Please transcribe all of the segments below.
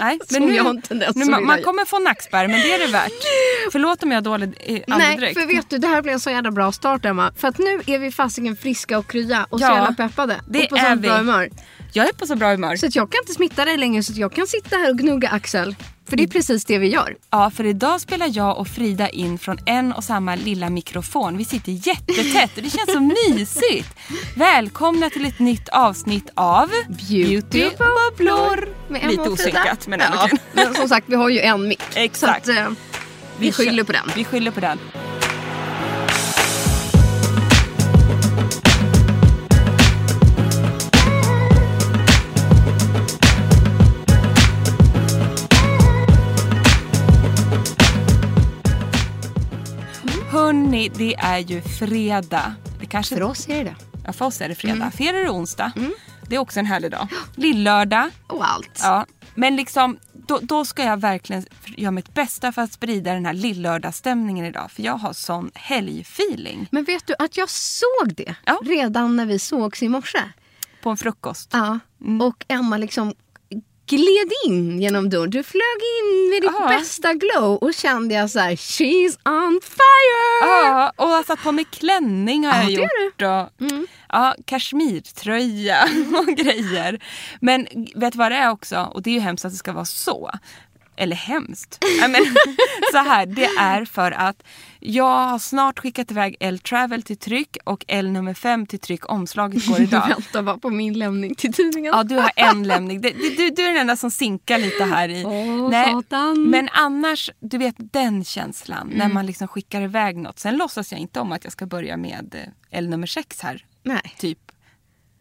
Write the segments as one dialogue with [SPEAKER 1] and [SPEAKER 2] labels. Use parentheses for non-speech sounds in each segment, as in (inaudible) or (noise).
[SPEAKER 1] Nej, men
[SPEAKER 2] Som
[SPEAKER 1] nu,
[SPEAKER 2] jag har en tendens
[SPEAKER 1] nu,
[SPEAKER 2] att
[SPEAKER 1] man,
[SPEAKER 2] vilja
[SPEAKER 1] man
[SPEAKER 2] göra.
[SPEAKER 1] kommer få nackspärr, men det är det värt. Förlåt om jag har dålig eh,
[SPEAKER 2] (laughs) Nej,
[SPEAKER 1] andedräkt.
[SPEAKER 2] för vet du, det här blev en så jävla bra start Emma. För att nu är vi fasiken friska och krya och
[SPEAKER 1] Ja,
[SPEAKER 2] så jävla peppade.
[SPEAKER 1] det
[SPEAKER 2] och på
[SPEAKER 1] är
[SPEAKER 2] sånt
[SPEAKER 1] vi.
[SPEAKER 2] bra humör.
[SPEAKER 1] Jag är på så bra humör.
[SPEAKER 2] Så att jag kan inte smitta dig längre så att jag kan sitta här och gnugga Axel. För det är precis det vi gör.
[SPEAKER 1] Ja, för idag spelar jag och Frida in från en och samma lilla mikrofon. Vi sitter jättetätt och det
[SPEAKER 2] (laughs)
[SPEAKER 1] känns så mysigt. Välkomna till ett nytt avsnitt av
[SPEAKER 2] Beauty och
[SPEAKER 1] bubblor.
[SPEAKER 2] Med Emma
[SPEAKER 1] Lite
[SPEAKER 2] och Frida.
[SPEAKER 1] osynkat, men ändå
[SPEAKER 2] ja,
[SPEAKER 1] kul.
[SPEAKER 2] Men som sagt, vi har ju en mick.
[SPEAKER 1] Exakt.
[SPEAKER 2] Så att, eh, vi, skyller på den.
[SPEAKER 1] Vi skyller på den. Hörni, det är ju fredag. Det kanske,
[SPEAKER 2] För oss är det det.
[SPEAKER 1] ja, för oss är det fredag.
[SPEAKER 2] Mm.
[SPEAKER 1] För er är det onsdag. Det är också en härlig dag. Lillördag.
[SPEAKER 2] Och allt.
[SPEAKER 1] Ja, men liksom då, då ska jag verkligen göra mitt bästa för att sprida den här lillördagsstämningen idag. För jag har sån helgfeeling
[SPEAKER 2] Men vet du att jag såg det
[SPEAKER 1] Ja.
[SPEAKER 2] redan när vi sågs i morse.
[SPEAKER 1] på en frukost.
[SPEAKER 2] Ja.
[SPEAKER 1] Mm.
[SPEAKER 2] Och Emma liksom gled in genom dörren. Du flög in med ditt
[SPEAKER 1] Ja.
[SPEAKER 2] bästa glow och kände jag så här, she's on fire!
[SPEAKER 1] Ja, och jag har satt på mig klänning har
[SPEAKER 2] Ah.
[SPEAKER 1] jag
[SPEAKER 2] Ja, det Mm. är
[SPEAKER 1] gjort. Och, ja, kashmirtröja (laughs) och grejer. Men vet du vad det är också? Och det är ju hemskt att det ska vara så. Eller hemskt. Nej, men, (laughs) så här, det är för att jag har snart skickat iväg L-travel till tryck och L nummer 5 till tryck. Omslaget
[SPEAKER 2] (laughs)
[SPEAKER 1] går
[SPEAKER 2] Jag
[SPEAKER 1] idag.
[SPEAKER 2] väntar bara på min lämning till tidningen.
[SPEAKER 1] Ja, du har en lämning. Det- Du, du, du är den enda som sinkar lite här i.
[SPEAKER 2] Åh, satan.
[SPEAKER 1] Men annars, du vet den känslan när man liksom skickar iväg något. Sen låtsas jag inte om att jag ska börja med eh, L nummer sex här,
[SPEAKER 2] Nej.
[SPEAKER 1] typ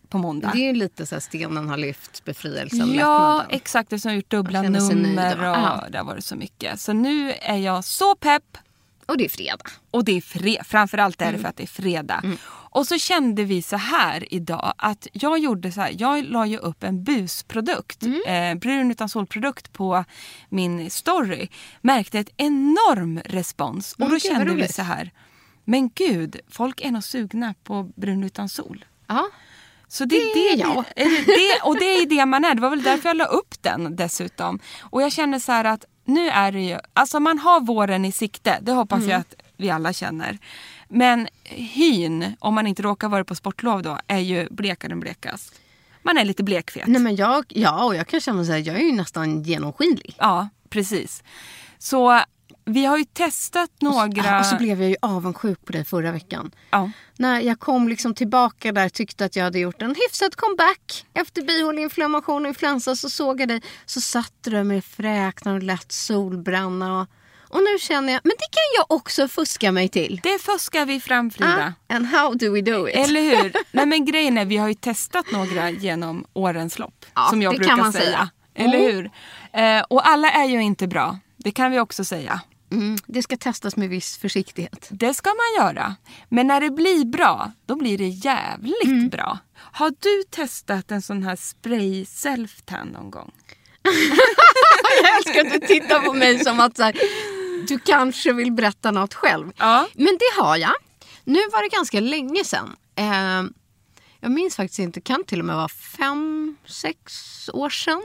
[SPEAKER 1] på måndag.
[SPEAKER 2] Det är ju lite så här stenen har lyft, befrielsen,
[SPEAKER 1] Ja,
[SPEAKER 2] lättnaden.
[SPEAKER 1] exakt. Eftersom jag har gjort dubbla
[SPEAKER 2] Man känner sig nöjd
[SPEAKER 1] nummer
[SPEAKER 2] då.
[SPEAKER 1] och
[SPEAKER 2] Ja.
[SPEAKER 1] det har varit så mycket. Så nu är jag så pepp.
[SPEAKER 2] Och det är fredag.
[SPEAKER 1] Och det är fre- framförallt är det
[SPEAKER 2] Mm.
[SPEAKER 1] för att det är fredag. Och så kände vi så här idag att jag gjorde så här. Jag la ju upp en busprodukt,
[SPEAKER 2] Mm.
[SPEAKER 1] eh, brun utan solprodukt på min story. Märkte ett enorm respons och
[SPEAKER 2] Mm,
[SPEAKER 1] då
[SPEAKER 2] gud, vad
[SPEAKER 1] kände vi
[SPEAKER 2] roligt.
[SPEAKER 1] så här. Men gud, folk är nog sugna på brun utan sol.
[SPEAKER 2] Ja.
[SPEAKER 1] Så det,
[SPEAKER 2] Det
[SPEAKER 1] är
[SPEAKER 2] är
[SPEAKER 1] det,
[SPEAKER 2] jag.
[SPEAKER 1] eller det, och det är det man är. Det var väl därför jag la upp den dessutom. Och jag känner så här att nu är det ju, alltså man har våren i sikte. Det hoppas jag
[SPEAKER 2] Mm.
[SPEAKER 1] att vi alla känner. Men hyn, om man inte råkar vara på sportlov då, är ju blekare än blekast. Man är lite blekfet.
[SPEAKER 2] Nej, men jag, ja, och jag kan känna så här, jag är ju nästan genomskinlig.
[SPEAKER 1] Ja, precis. Så vi har ju testat några...
[SPEAKER 2] Och så blev jag ju avundsjuk på dig förra veckan.
[SPEAKER 1] ja.
[SPEAKER 2] När jag kom liksom tillbaka där tyckte att jag hade gjort en hyfsad comeback efter bihåleinflammation och influensa så såg jag dig. Så satt du där med fräknar och lätt solbränna. Och, och nu känner jag, men det kan jag också fuska mig till.
[SPEAKER 1] Det fuskar vi fram Frida.
[SPEAKER 2] Ah, and how do we do it?
[SPEAKER 1] Eller hur? Nej men grejen är vi har ju testat några genom årens lopp.
[SPEAKER 2] Ja,
[SPEAKER 1] som jag
[SPEAKER 2] det
[SPEAKER 1] brukar
[SPEAKER 2] kan man
[SPEAKER 1] säga. Mm.
[SPEAKER 2] säga.
[SPEAKER 1] Eller hur? Eh, och alla är ju inte bra. Det kan vi också säga.
[SPEAKER 2] Mm, det ska testas med viss försiktighet.
[SPEAKER 1] Det ska man göra. Men när det blir bra, då blir det jävligt bra. Har du testat en sån här spray self-tan någon gång?
[SPEAKER 2] Jag älskar att du tittar på mig som att så här, du kanske vill berätta något själv.
[SPEAKER 1] Ja.
[SPEAKER 2] Men det har jag. Nu var det ganska länge sedan. Eh, jag minns faktiskt inte, kan till och med vara fem, sex år sedan.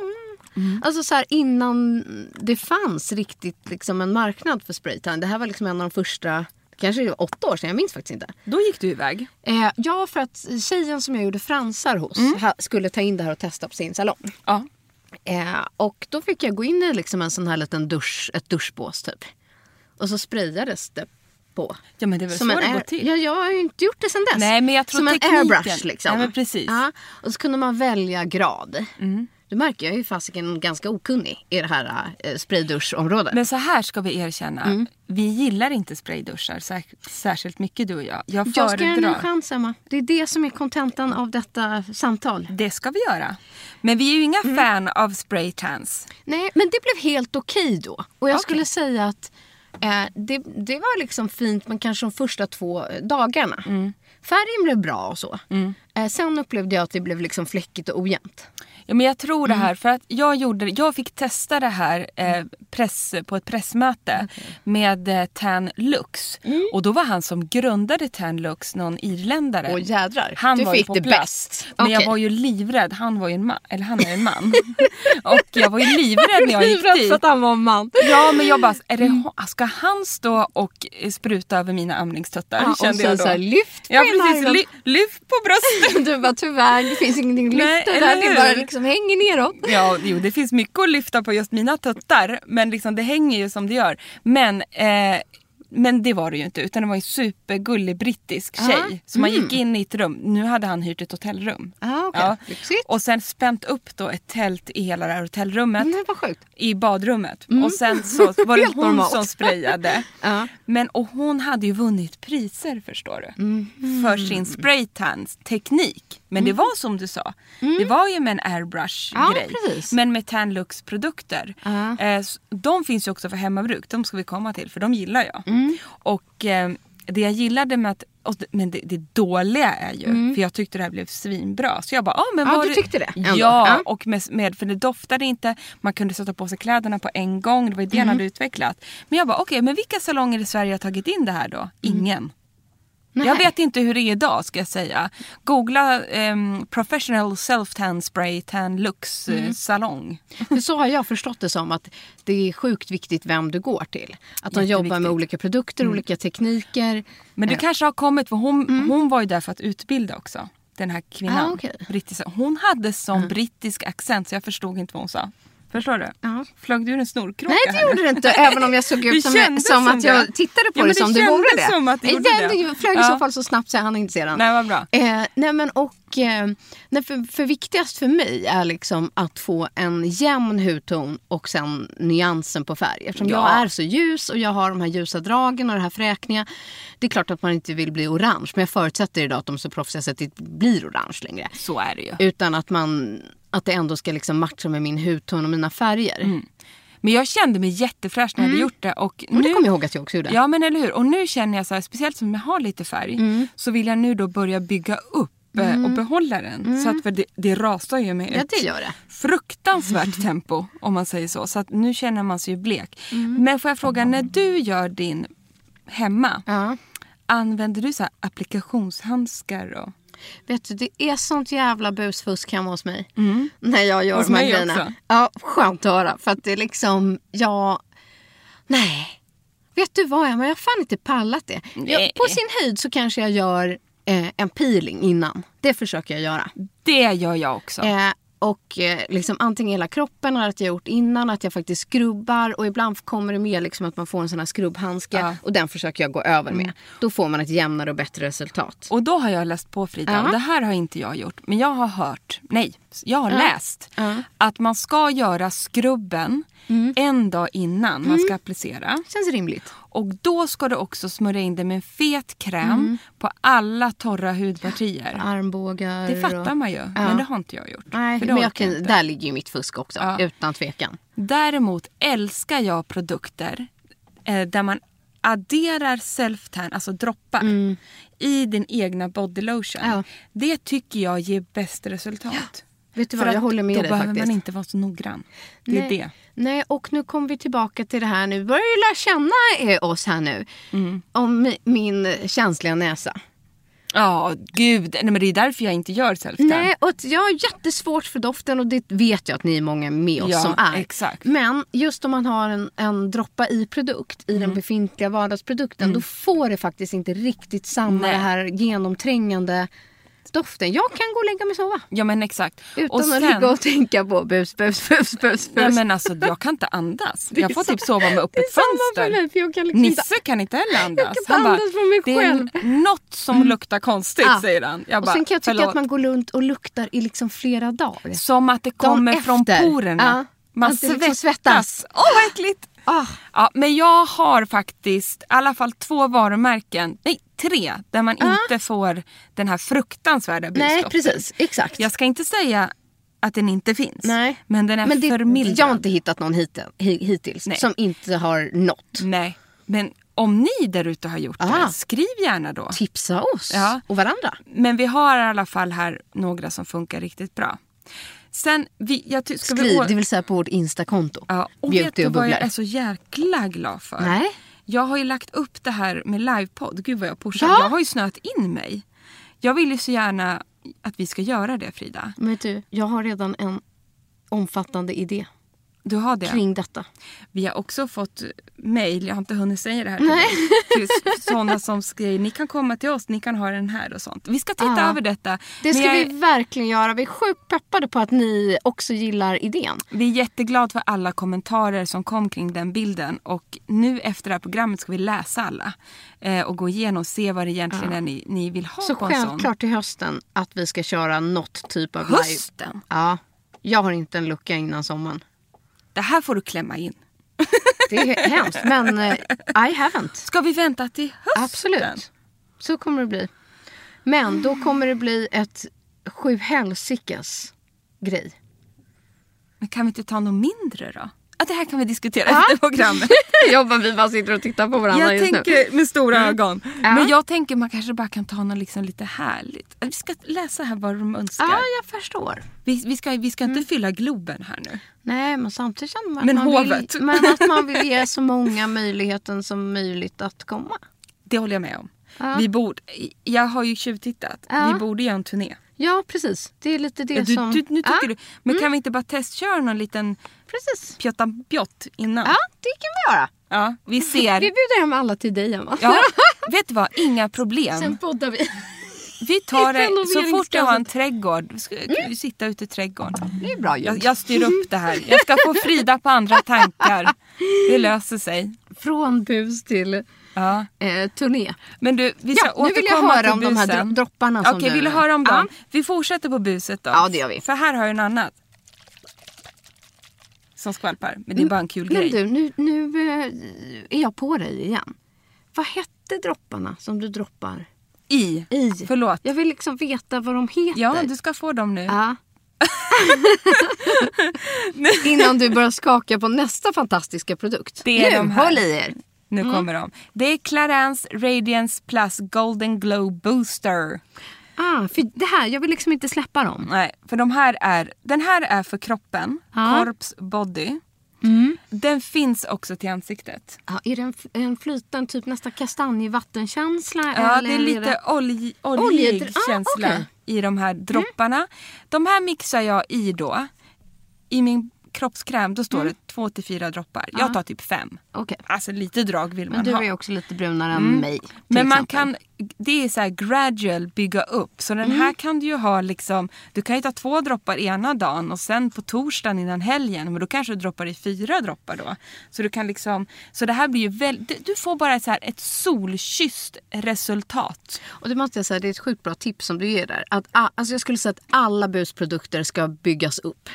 [SPEAKER 2] Alltså så här, innan det fanns riktigt liksom en marknad för spraytan. Det här var liksom en av de första, kanske åtta år sedan, jag minns faktiskt inte.
[SPEAKER 1] Då gick du iväg.
[SPEAKER 2] Eh, ja, för att tjejen som jag gjorde fransar hos ha, skulle ta in det här och testa på sin salong.
[SPEAKER 1] Ja.
[SPEAKER 2] Eh, och då fick jag gå in i liksom en sån här liten dusch, ett duschbås typ. Och så sprayades det på.
[SPEAKER 1] Ja, men det är väl så
[SPEAKER 2] en
[SPEAKER 1] det går
[SPEAKER 2] air-
[SPEAKER 1] till.
[SPEAKER 2] Ja, jag har ju inte gjort det sen dess.
[SPEAKER 1] Nej, men jag tror
[SPEAKER 2] Som
[SPEAKER 1] tekniken-
[SPEAKER 2] en airbrush liksom.
[SPEAKER 1] Ja, men precis. Mm.
[SPEAKER 2] Ja, och så kunde man välja grad. Du märker, jag är ju fasiken ganska okunnig i det här eh, sprayduschområdet.
[SPEAKER 1] Men så här ska vi erkänna. Vi gillar inte sprayduschar sär- särskilt mycket du och jag. Jag
[SPEAKER 2] jag ska ge den
[SPEAKER 1] föredrar.
[SPEAKER 2] en chans, Emma. Det är det som är kontentan av detta samtal.
[SPEAKER 1] det ska vi göra. Men vi är ju inga fan av spraytans.
[SPEAKER 2] Nej, men det blev helt okej då. Och jag
[SPEAKER 1] Okej.
[SPEAKER 2] skulle säga att eh, det, det var liksom fint, men kanske de första två eh, dagarna.
[SPEAKER 1] Mm.
[SPEAKER 2] Färgen blev bra och så. Eh, sen upplevde jag att det blev liksom fläckigt och ojämnt.
[SPEAKER 1] Ja, men jag tror
[SPEAKER 2] Mm.
[SPEAKER 1] det här för att jag, gjorde, jag fick testa det här eh, press, på ett pressmöte med eh, Tan Lux.
[SPEAKER 2] Mm.
[SPEAKER 1] Och då var han som grundade Tan Lux någon irländare.
[SPEAKER 2] Åh, jädrar.
[SPEAKER 1] Han
[SPEAKER 2] Du
[SPEAKER 1] var ju
[SPEAKER 2] fick
[SPEAKER 1] på
[SPEAKER 2] det
[SPEAKER 1] plats.
[SPEAKER 2] bäst.
[SPEAKER 1] Men jag
[SPEAKER 2] Okej.
[SPEAKER 1] var ju livrädd. Han var ju en man. Eller han är en man. (laughs) och jag var ju livrädd när jag gick dit.
[SPEAKER 2] han Mm. var man. (laughs)
[SPEAKER 1] Ja men jag bara, är det, hon- ska han stå och eh, spruta över mina amningstuttar?
[SPEAKER 2] Ja, och
[SPEAKER 1] kände
[SPEAKER 2] sen
[SPEAKER 1] jag då.
[SPEAKER 2] så här, lyft på
[SPEAKER 1] ja,
[SPEAKER 2] ena
[SPEAKER 1] precis,
[SPEAKER 2] armen.
[SPEAKER 1] ly, lyft på bröstet.
[SPEAKER 2] Du bara, tyvärr, det finns ingenting att
[SPEAKER 1] Nej,
[SPEAKER 2] lyfta
[SPEAKER 1] eller
[SPEAKER 2] där. Det
[SPEAKER 1] hur?
[SPEAKER 2] bara liksom hänger neråt.
[SPEAKER 1] Ja, jo, det finns mycket att lyfta på just mina tuttar. Men liksom, det hänger ju som det gör. Men, eh, men det var det ju inte. Utan det var en supergullig brittisk
[SPEAKER 2] Ah,
[SPEAKER 1] tjej. Så man gick in i ett rum. Nu hade han hyrt ett hotellrum.
[SPEAKER 2] mm. Ah, okej. Lyxigt.
[SPEAKER 1] Och sen spänt upp då ett tält i hela det här hotellrummet.
[SPEAKER 2] Men vad Mm, sjukt.
[SPEAKER 1] I badrummet. Och sen så var det
[SPEAKER 2] Mm. Helt
[SPEAKER 1] hon
[SPEAKER 2] normalt.
[SPEAKER 1] som sprayade.
[SPEAKER 2] Ja.
[SPEAKER 1] Men, och hon hade ju vunnit priser förstår du.
[SPEAKER 2] Mm.
[SPEAKER 1] För sin spraytans-teknik. Men det var som du sa. Det var ju med en airbrush-grej.
[SPEAKER 2] Mm. Ja, precis.
[SPEAKER 1] men med Tanlux produkter.
[SPEAKER 2] Ja.
[SPEAKER 1] Eh, s- de finns ju också för hemmabruk. De ska vi komma till för de gillar jag.
[SPEAKER 2] Mm.
[SPEAKER 1] Och eh, det jag gillade med att och det- men det, det dåliga är ju,
[SPEAKER 2] Mm.
[SPEAKER 1] för jag tyckte det här blev svinbra. Så jag bara, ah, men
[SPEAKER 2] Ja,
[SPEAKER 1] var
[SPEAKER 2] du tyckte det
[SPEAKER 1] Ja,
[SPEAKER 2] ändå. Ja.
[SPEAKER 1] och med, med, för det doftade inte, man kunde sätta på sig kläderna på en gång, det var ju
[SPEAKER 2] Mhm.
[SPEAKER 1] det han hade utvecklat. Men jag bara, okej, men vilka salonger i Sverige har tagit in det här då? Ingen.
[SPEAKER 2] Mhm. Nej.
[SPEAKER 1] Jag vet inte hur det är idag ska jag säga. Googla ehm, professional self-tan spray tan lux
[SPEAKER 2] Mhm.
[SPEAKER 1] eh, salong.
[SPEAKER 2] För så har jag förstått det som att det är sjukt viktigt vem du går till. Att de jobbar med
[SPEAKER 1] Jätteviktigt. Mm.
[SPEAKER 2] olika produkter, olika tekniker.
[SPEAKER 1] Men det
[SPEAKER 2] Eh,
[SPEAKER 1] kanske har kommit, för hon, hon var ju där för att utbilda också. Den här kvinnan.
[SPEAKER 2] Mhm. Ah, okej.
[SPEAKER 1] brittiska. Hon hade sån brittisk accent så jag förstod inte vad hon sa. Förstår du?
[SPEAKER 2] Ja.
[SPEAKER 1] Flög du ur en snorkråka?
[SPEAKER 2] Nej, det
[SPEAKER 1] här nu?
[SPEAKER 2] gjorde det inte. Även om jag
[SPEAKER 1] (laughs)
[SPEAKER 2] såg
[SPEAKER 1] Det
[SPEAKER 2] ut som,
[SPEAKER 1] kändes
[SPEAKER 2] som,
[SPEAKER 1] som
[SPEAKER 2] att jag
[SPEAKER 1] det.
[SPEAKER 2] tittade på
[SPEAKER 1] Ja, men
[SPEAKER 2] det
[SPEAKER 1] det
[SPEAKER 2] som det
[SPEAKER 1] kändes
[SPEAKER 2] vore det.
[SPEAKER 1] som att det gjorde det.
[SPEAKER 2] det flög i
[SPEAKER 1] Ja.
[SPEAKER 2] så fall så snabbt så jag hann inte se den.
[SPEAKER 1] Nej, vad bra.
[SPEAKER 2] Eh, nej, men och, eh, nej, för, för viktigast för mig är liksom att få en jämn hudton och sen nyansen på färg. Eftersom
[SPEAKER 1] Ja.
[SPEAKER 2] jag är så ljus och jag har de här ljusa dragen och det här fräkniga. Det är klart att man inte vill bli orange, men jag förutsätter idag att de så proffsiga sättet inte blir orange längre.
[SPEAKER 1] Så är det ju.
[SPEAKER 2] Utan att, man, att det ändå ska liksom matcha med min hudton och mina färger.
[SPEAKER 1] Mm. Men jag kände mig jättefräsch när jag hade gjort det. Och
[SPEAKER 2] Mm. Och det
[SPEAKER 1] nu-
[SPEAKER 2] kommer jag ihåg att jag också gjorde.
[SPEAKER 1] Ja men eller hur. Och nu känner jag så här, speciellt som jag har lite färg,
[SPEAKER 2] Mm.
[SPEAKER 1] så vill jag nu då börja bygga upp eh, och behålla den. Så att för det, det rasar ju med
[SPEAKER 2] Mm. Ja,
[SPEAKER 1] ett
[SPEAKER 2] det gör det. (laughs)
[SPEAKER 1] fruktansvärt tempo om man säger så. Så att nu känner man sig ju blek.
[SPEAKER 2] Mm.
[SPEAKER 1] Men får jag fråga, när du gör din hemma,
[SPEAKER 2] Ja.
[SPEAKER 1] använder du så här applikationshandskar? Och...
[SPEAKER 2] Vet du, det är sånt jävla busfusk hemma hos mig. När jag gör
[SPEAKER 1] Mm. Hos
[SPEAKER 2] de här
[SPEAKER 1] mig
[SPEAKER 2] grejerna.
[SPEAKER 1] också.
[SPEAKER 2] Ja, skönt att höra. För att det är liksom, jag... Nej. Vet du vad Emma, jag har fan inte pallat det.
[SPEAKER 1] Nej.
[SPEAKER 2] Jag, på sin höjd så kanske jag gör eh, en peeling innan. Det försöker jag göra.
[SPEAKER 1] Det gör jag också.
[SPEAKER 2] Eh, och eh, liksom antingen hela kroppen eller att jag gjort innan, att jag faktiskt skrubbar och ibland kommer det med liksom att man får en sån här skrubbhandske
[SPEAKER 1] Ja. Mm.
[SPEAKER 2] och den försöker jag gå över med. Då får man ett jämnare och bättre resultat.
[SPEAKER 1] Och då har jag läst på Frida.
[SPEAKER 2] Ja.
[SPEAKER 1] Och det här har inte jag gjort. Men jag har hört, nej sett, jag har läst, att man ska göra skrubben
[SPEAKER 2] Mm.
[SPEAKER 1] en dag innan man ska applicera.
[SPEAKER 2] Känns rimligt.
[SPEAKER 1] Och då ska du också smörja in det med en fet kräm
[SPEAKER 2] Mm.
[SPEAKER 1] på alla torra hudpartier.
[SPEAKER 2] Armbågar
[SPEAKER 1] Det fattar
[SPEAKER 2] och...
[SPEAKER 1] man ju, men det har inte jag gjort.
[SPEAKER 2] Nej,
[SPEAKER 1] för det
[SPEAKER 2] men jag
[SPEAKER 1] orkar
[SPEAKER 2] kan,
[SPEAKER 1] jag inte.
[SPEAKER 2] där ligger ju mitt fusk också.
[SPEAKER 1] Ja.
[SPEAKER 2] Utan tvekan.
[SPEAKER 1] Däremot älskar jag produkter eh, där man adderar self-tan, alltså droppar, i din egna body lotion.
[SPEAKER 2] Mm. Ja.
[SPEAKER 1] Det tycker jag ger bäst resultat.
[SPEAKER 2] Vet du
[SPEAKER 1] För
[SPEAKER 2] vad, jag
[SPEAKER 1] att
[SPEAKER 2] håller med
[SPEAKER 1] då
[SPEAKER 2] dig
[SPEAKER 1] behöver
[SPEAKER 2] faktiskt.
[SPEAKER 1] man inte vara så noggrann. Det är
[SPEAKER 2] Nej.
[SPEAKER 1] det.
[SPEAKER 2] Nej, och nu kommer vi tillbaka till det här nu. börjar ju lära känna eh, oss här nu.
[SPEAKER 1] Mm.
[SPEAKER 2] Om mi- min känsliga näsa.
[SPEAKER 1] Ja, gud. Nej, men det är därför jag inte gör self-tan.
[SPEAKER 2] Nej, och att jag har jättesvårt för doften och det vet jag att ni är många med oss
[SPEAKER 1] Ja,
[SPEAKER 2] som är.
[SPEAKER 1] exakt.
[SPEAKER 2] Men just om man har en, en droppa i produkt, i
[SPEAKER 1] Mm.
[SPEAKER 2] den befintliga vardagsprodukten, då får det faktiskt inte riktigt samma
[SPEAKER 1] Nej.
[SPEAKER 2] det här genomträngande doften. Jag kan gå och lägga mig och sova.
[SPEAKER 1] Ja, men exakt.
[SPEAKER 2] Utan att ligga och tänka på bus, bus, bus, bus,
[SPEAKER 1] Nej,
[SPEAKER 2] bus.
[SPEAKER 1] men alltså, jag kan inte andas.
[SPEAKER 2] är
[SPEAKER 1] Jag får
[SPEAKER 2] så-
[SPEAKER 1] typ sova med
[SPEAKER 2] (laughs) det är
[SPEAKER 1] öppet
[SPEAKER 2] samma för
[SPEAKER 1] fönster.
[SPEAKER 2] mig, för jag kan liksom inte-
[SPEAKER 1] Nisse kan inte heller andas.
[SPEAKER 2] kan inte andas på mig
[SPEAKER 1] det är
[SPEAKER 2] själv." Mm.
[SPEAKER 1] n- något som luktar konstigt,
[SPEAKER 2] Ja.
[SPEAKER 1] säger han. Jag
[SPEAKER 2] Ah. och
[SPEAKER 1] bara,
[SPEAKER 2] sen kan jag tycka
[SPEAKER 1] "Förlåt."
[SPEAKER 2] att man går runt och luktar i liksom flera dagar.
[SPEAKER 1] Som att det kommer
[SPEAKER 2] efter.
[SPEAKER 1] från porerna.
[SPEAKER 2] Ja.
[SPEAKER 1] Man
[SPEAKER 2] Att det
[SPEAKER 1] svettas.
[SPEAKER 2] liksom svettas. Ah.
[SPEAKER 1] Åh, vad äckligt! Ja, men jag har faktiskt i alla fall två varumärken, nej tre, där man inte får den här fruktansvärda
[SPEAKER 2] Ah. Nej,
[SPEAKER 1] busdoften.
[SPEAKER 2] precis. Exakt.
[SPEAKER 1] Jag ska inte säga att den inte finns,
[SPEAKER 2] Nej.
[SPEAKER 1] men den är
[SPEAKER 2] Men det,
[SPEAKER 1] för mild.
[SPEAKER 2] jag har inte hittat någon hit, hi- hittills
[SPEAKER 1] Nej. Mm.
[SPEAKER 2] som inte har nått.
[SPEAKER 1] Nej, men om ni där ute har gjort
[SPEAKER 2] Ah.
[SPEAKER 1] det, skriv gärna då.
[SPEAKER 2] Tipsa oss
[SPEAKER 1] Ja.
[SPEAKER 2] och varandra.
[SPEAKER 1] Men vi har i alla fall här några som funkar riktigt bra. Sen, vi, jag ty- ska vi...
[SPEAKER 2] Skriv,
[SPEAKER 1] å-
[SPEAKER 2] det vill säga på vårt Instakonto.
[SPEAKER 1] Ja, och vet
[SPEAKER 2] Beauty
[SPEAKER 1] du
[SPEAKER 2] och
[SPEAKER 1] vad jag
[SPEAKER 2] bubblor.
[SPEAKER 1] är så jäkla glad för?
[SPEAKER 2] Nej.
[SPEAKER 1] Jag har ju lagt upp det här med livepodd. Gud vad jag pushar.
[SPEAKER 2] Ja.
[SPEAKER 1] Jag har ju snöat in mig. Jag vill ju så gärna att vi ska göra det Frida.
[SPEAKER 2] Men vet du, jag har redan en omfattande idé
[SPEAKER 1] Du har det.
[SPEAKER 2] kring detta.
[SPEAKER 1] Vi har också fått mejl, jag har inte hunnit säga det här till dig. Till sådana som skriver, ni kan komma till oss, ni kan ha den här och sånt. Vi ska titta
[SPEAKER 2] Ja.
[SPEAKER 1] över detta.
[SPEAKER 2] Det ska
[SPEAKER 1] Men jag,
[SPEAKER 2] vi verkligen göra. Vi är sjukt peppade på att ni också gillar idén.
[SPEAKER 1] vi är jätteglada för alla kommentarer som kom kring den bilden. Och nu efter det här programmet ska vi läsa alla. Eh, och gå igenom och se vad det egentligen är ni, ni vill ha
[SPEAKER 2] Så
[SPEAKER 1] på en sån.
[SPEAKER 2] självklart till hösten att vi ska köra något typ av live.
[SPEAKER 1] Hösten?
[SPEAKER 2] Ja, jag har inte en lucka innan sommaren.
[SPEAKER 1] Det här får du klämma in.
[SPEAKER 2] Det är hemskt, men eh, I haven't.
[SPEAKER 1] Ska vi vänta till hösten?
[SPEAKER 2] Absolut. Så kommer det bli. Men då kommer det bli ett sjuhelsikes grej.
[SPEAKER 1] Men kan vi inte ta något mindre då? Ja, (laughs) det här kan vi diskutera
[SPEAKER 2] Ja.
[SPEAKER 1] efter
[SPEAKER 2] (laughs)
[SPEAKER 1] programmet.
[SPEAKER 2] Jobbar vi bara sitter och tittar på varandra
[SPEAKER 1] Jag
[SPEAKER 2] just nu. Mm.
[SPEAKER 1] tänker med stora ögon.
[SPEAKER 2] Ja.
[SPEAKER 1] Men jag tänker man kanske bara kan ta något liksom lite härligt. Vi ska läsa här vad de önskar.
[SPEAKER 2] Ja, Mm. jag förstår.
[SPEAKER 1] Vi, vi ska, vi ska inte fylla Globen här nu.
[SPEAKER 2] Nej, men samtidigt känner man att,
[SPEAKER 1] Men
[SPEAKER 2] man
[SPEAKER 1] hovet.
[SPEAKER 2] Vill, men att man vill ge så många möjligheten som möjligt att komma.
[SPEAKER 1] Det håller jag med om.
[SPEAKER 2] Ja.
[SPEAKER 1] Vi borde, jag har ju tjuvtittat.
[SPEAKER 2] Ja.
[SPEAKER 1] Vi borde göra en turné.
[SPEAKER 2] Ja, precis. Det är lite det
[SPEAKER 1] Du,
[SPEAKER 2] som...
[SPEAKER 1] du, nu tycker
[SPEAKER 2] ja,
[SPEAKER 1] du,
[SPEAKER 2] Mm.
[SPEAKER 1] men kan vi inte bara testköra någon liten
[SPEAKER 2] Precis.
[SPEAKER 1] pjottanpjott innan?
[SPEAKER 2] Ja, det kan vi göra.
[SPEAKER 1] Ja, vi ser.
[SPEAKER 2] Vi bjuder hem alla till dig, Emma.
[SPEAKER 1] Ja, vet du vad? Inga problem.
[SPEAKER 2] (laughs) Sen poddar vi.
[SPEAKER 1] Vi tar det så fort jag har en
[SPEAKER 2] Renoveringskassan.
[SPEAKER 1] trädgård. Ska, kan vi
[SPEAKER 2] Mm.
[SPEAKER 1] sitta ute i trädgården.
[SPEAKER 2] Det är bra
[SPEAKER 1] Jag, jag styr upp det här. Jag ska få Frida på andra tankar. Det löser sig.
[SPEAKER 2] Från bus till
[SPEAKER 1] Ja.
[SPEAKER 2] eh, turné.
[SPEAKER 1] Men du, vi ska
[SPEAKER 2] Ja, nu
[SPEAKER 1] återkomma
[SPEAKER 2] vill jag höra om
[SPEAKER 1] till
[SPEAKER 2] de här
[SPEAKER 1] busen.
[SPEAKER 2] dro- dropparna som
[SPEAKER 1] Okej,
[SPEAKER 2] du-
[SPEAKER 1] vill du höra om
[SPEAKER 2] Ja.
[SPEAKER 1] dem? Vi fortsätter på buset då.
[SPEAKER 2] Ja, det gör vi.
[SPEAKER 1] För här har jag en annan. Som skvalpar. Men det är bara en kul
[SPEAKER 2] Mm. Men
[SPEAKER 1] grej.
[SPEAKER 2] du, nu, nu eh, är jag på dig igen. Vad hette dropparna som du droppar
[SPEAKER 1] I.
[SPEAKER 2] i?
[SPEAKER 1] Förlåt.
[SPEAKER 2] Jag vill liksom veta vad de heter.
[SPEAKER 1] Ja, du ska få dem nu.
[SPEAKER 2] Ja. (laughs) Innan du börjar skaka på nästa fantastiska produkt.
[SPEAKER 1] Det är
[SPEAKER 2] nu,
[SPEAKER 1] de här.
[SPEAKER 2] håll i er.
[SPEAKER 1] Nu kommer de. Det är Clarins Radiance Plus Golden Glow Booster.
[SPEAKER 2] Ah, för det här, jag vill liksom inte släppa dem.
[SPEAKER 1] Nej, för de här är, den här är för kroppen,
[SPEAKER 2] Ja. Mm.
[SPEAKER 1] korps body. Den finns också till ansiktet.
[SPEAKER 2] Ja, är det en, f- en flytande, typ nästan kastanjevattenkänsla?
[SPEAKER 1] Ja,
[SPEAKER 2] eller
[SPEAKER 1] det är lite olj, oljig
[SPEAKER 2] Oljed- ah, Mm.
[SPEAKER 1] känsla
[SPEAKER 2] okej.
[SPEAKER 1] i de här dropparna. De här mixar jag i då, i min kroppskräm då
[SPEAKER 2] Mm.
[SPEAKER 1] står det två till fyra droppar. Jag tar typ fem.
[SPEAKER 2] Okej.
[SPEAKER 1] Alltså lite drag vill man
[SPEAKER 2] Ah. Men du
[SPEAKER 1] ha.
[SPEAKER 2] är ju också lite brunare än mig. till
[SPEAKER 1] Men man
[SPEAKER 2] exempel. Mm.
[SPEAKER 1] kan, det är så här gradual bygga upp. Så den här kan du ju ha liksom, du kan ju ta två droppar ena dagen och sen på torsdagen innan helgen, men då kanske du droppar i fyra droppar då. Så du kan liksom, så det här blir ju väldigt, du får bara så här ett solkysst resultat.
[SPEAKER 2] Och det måste jag säga, det är ett sjukt bra tips som du ger där. Att, a- alltså jag skulle säga att alla busprodukter ska byggas upp.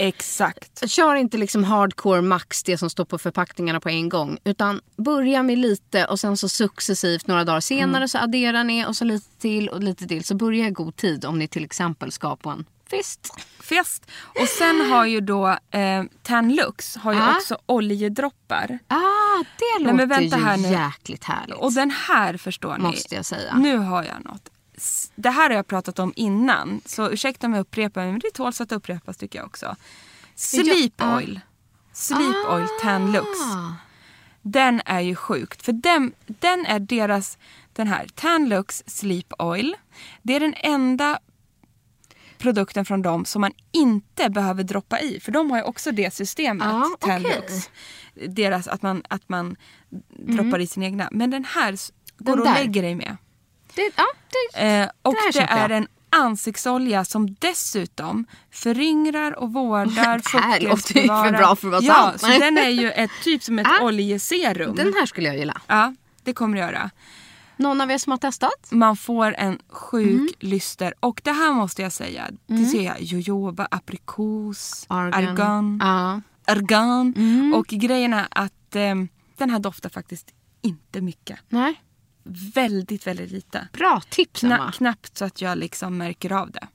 [SPEAKER 1] Exakt.
[SPEAKER 2] Kör inte liksom hardcore max det som står på förpackningarna på en gång. Utan börja med lite och sen så successivt några dagar senare
[SPEAKER 1] Mm.
[SPEAKER 2] så adderar ni och så lite till och lite till. Så börja i god tid om ni till exempel ska på en fest.
[SPEAKER 1] Fest. Och sen har ju då eh, Tanlux har ju
[SPEAKER 2] Ja.
[SPEAKER 1] också oljedroppar.
[SPEAKER 2] Ah, det låter
[SPEAKER 1] Nej, men vänta
[SPEAKER 2] ju
[SPEAKER 1] här nu.
[SPEAKER 2] jäkligt härligt.
[SPEAKER 1] Och den här förstår ni.
[SPEAKER 2] Måste jag säga.
[SPEAKER 1] Nu har jag något. S- Det här har jag pratat om innan. Så ursäkta om jag upprepar mig. Men det tåls att upprepas tycker jag också. Sleep
[SPEAKER 2] Ja. Ah.
[SPEAKER 1] oil. Sleep oil tan lux. Den är ju sjukt. För den, den är deras, den här Tanlux Sleep Oil. Det är den enda produkten från dem som man inte behöver droppa i. För de har ju också det systemet,
[SPEAKER 2] Ja, okej.
[SPEAKER 1] Tanlux. Deras, att man, att man droppar i sin egna. Men den här s- går
[SPEAKER 2] Mm. Den
[SPEAKER 1] och
[SPEAKER 2] där.
[SPEAKER 1] lägger dig med.
[SPEAKER 2] Det, ja, det,
[SPEAKER 1] Eh, och
[SPEAKER 2] här
[SPEAKER 1] det
[SPEAKER 2] köper jag.
[SPEAKER 1] är en ansiktsolja som dessutom föryngrar och vårdar
[SPEAKER 2] Det här låter ju för bra för att vara
[SPEAKER 1] ja,
[SPEAKER 2] sant.
[SPEAKER 1] Så den är ju ett, typ som ett
[SPEAKER 2] (laughs) Ah.
[SPEAKER 1] oljeserum.
[SPEAKER 2] den här skulle jag gilla.
[SPEAKER 1] Ja, det kommer det göra.
[SPEAKER 2] Någon av er som har testat?
[SPEAKER 1] Man får en sjuk
[SPEAKER 2] Mm.
[SPEAKER 1] lyster. Och det här måste jag säga. Det ser jag. Jojoba, aprikos, argan.
[SPEAKER 2] Ja. Mm.
[SPEAKER 1] argan. Och grejen är att ehm, den här doftar faktiskt inte mycket.
[SPEAKER 2] Nej.
[SPEAKER 1] Väldigt, väldigt lite.
[SPEAKER 2] Bra tips
[SPEAKER 1] Kna-
[SPEAKER 2] Emma.
[SPEAKER 1] knappt så att jag liksom märker av det.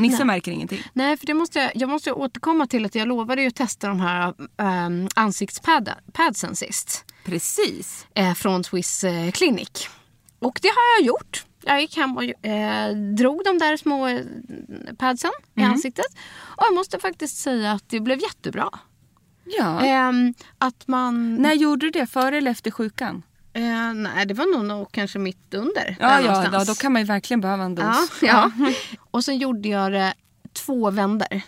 [SPEAKER 1] Nisse märker ingenting.
[SPEAKER 2] Mm, Nej, för det måste jag, jag måste återkomma till att jag lovade ju att testa de här ähm, ansiktspadsen sist.
[SPEAKER 1] Precis.
[SPEAKER 2] Eh, från Swiss eh, Clinic. Och det har jag gjort. Jag gick hem och eh, drog de där små eh, padsen
[SPEAKER 1] Mhm.
[SPEAKER 2] i ansiktet. Och jag måste faktiskt säga att det blev jättebra.
[SPEAKER 1] Ja.
[SPEAKER 2] Ehm, att man...
[SPEAKER 1] När gjorde du det? Före eller efter sjukan?
[SPEAKER 2] Eh, nej, det var nog, nog kanske mitt under.
[SPEAKER 1] Ja,
[SPEAKER 2] där
[SPEAKER 1] ja då,
[SPEAKER 2] någonstans.
[SPEAKER 1] då kan man ju verkligen behöva en dos.
[SPEAKER 2] Ja, ja. Och sen gjorde jag det två vändor.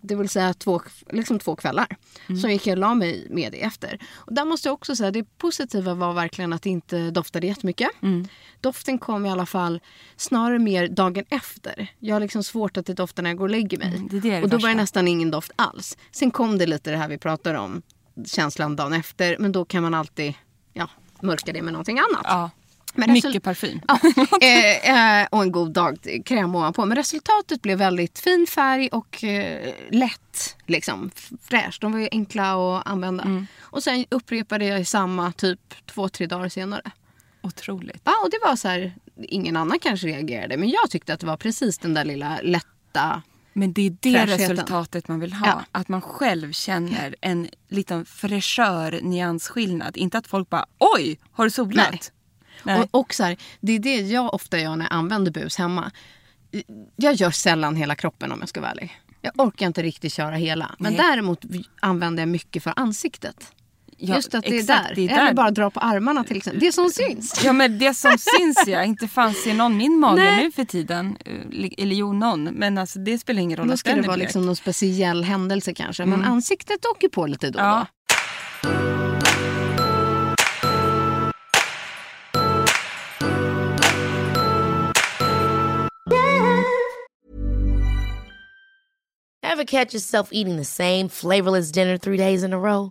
[SPEAKER 2] Det vill säga två, liksom två kvällar.
[SPEAKER 1] Mm.
[SPEAKER 2] Så gick jag och la mig med det efter. Och där måste jag också säga, det positiva var verkligen att det inte doftade jättemycket.
[SPEAKER 1] Mm.
[SPEAKER 2] Doften kom i alla fall snarare mer dagen efter. Jag har liksom svårt att det doftar när jag går och lägger mig.
[SPEAKER 1] Mm, det är det
[SPEAKER 2] och då var
[SPEAKER 1] värsta.
[SPEAKER 2] det nästan ingen doft alls. Sen kom det lite det här vi pratar om, känslan dagen efter. Men då kan man alltid ja, mörka det med någonting annat.
[SPEAKER 1] Ja.
[SPEAKER 2] Men resul-
[SPEAKER 1] Mycket parfym. (laughs)
[SPEAKER 2] Ja, (laughs) eh, eh, och en god dagkräm ovanpå. Men resultatet blev väldigt fin färg och eh, lätt. Liksom, fräsch. De var ju enkla att använda.
[SPEAKER 1] Mm.
[SPEAKER 2] Och sen upprepade jag samma typ två, tre dagar senare.
[SPEAKER 1] Otroligt.
[SPEAKER 2] Ja, och det var så här, ingen annan kanske reagerade men jag tyckte att det var precis den där lilla lätta
[SPEAKER 1] Men det är det
[SPEAKER 2] Fräschheten.
[SPEAKER 1] resultatet man vill ha.
[SPEAKER 2] Ja.
[SPEAKER 1] Att man själv känner en liten fräschör nyansskillnad. Inte att folk bara oj, har du solat?
[SPEAKER 2] Nej.
[SPEAKER 1] Nej.
[SPEAKER 2] Och, och så här, det är det jag ofta gör när jag använder bus hemma. Jag gör sällan hela kroppen om jag ska vara ärlig. Jag orkar inte riktigt köra hela. Men
[SPEAKER 1] Nej.
[SPEAKER 2] däremot vi- använder jag mycket för ansiktet.
[SPEAKER 1] Ja,
[SPEAKER 2] Just att det är,
[SPEAKER 1] exakt,
[SPEAKER 2] där.
[SPEAKER 1] det är
[SPEAKER 2] Eller
[SPEAKER 1] där.
[SPEAKER 2] bara dra på armarna till exempel. Det som syns.
[SPEAKER 1] Ja men det som syns ja, inte fanns ser någon min mage
[SPEAKER 2] Nej.
[SPEAKER 1] nu för tiden. Eh, Eller jo någon, men alltså, det spelar ingen roll
[SPEAKER 2] Då
[SPEAKER 1] att
[SPEAKER 2] ska
[SPEAKER 1] den
[SPEAKER 2] det
[SPEAKER 1] är
[SPEAKER 2] vara
[SPEAKER 1] blek. Mm.
[SPEAKER 2] liksom någon speciell händelse kanske. Men ansiktet åker på lite då och
[SPEAKER 1] Ja.
[SPEAKER 2] då.
[SPEAKER 3] Ever catch yourself eating the same flavorless dinner three days in a row?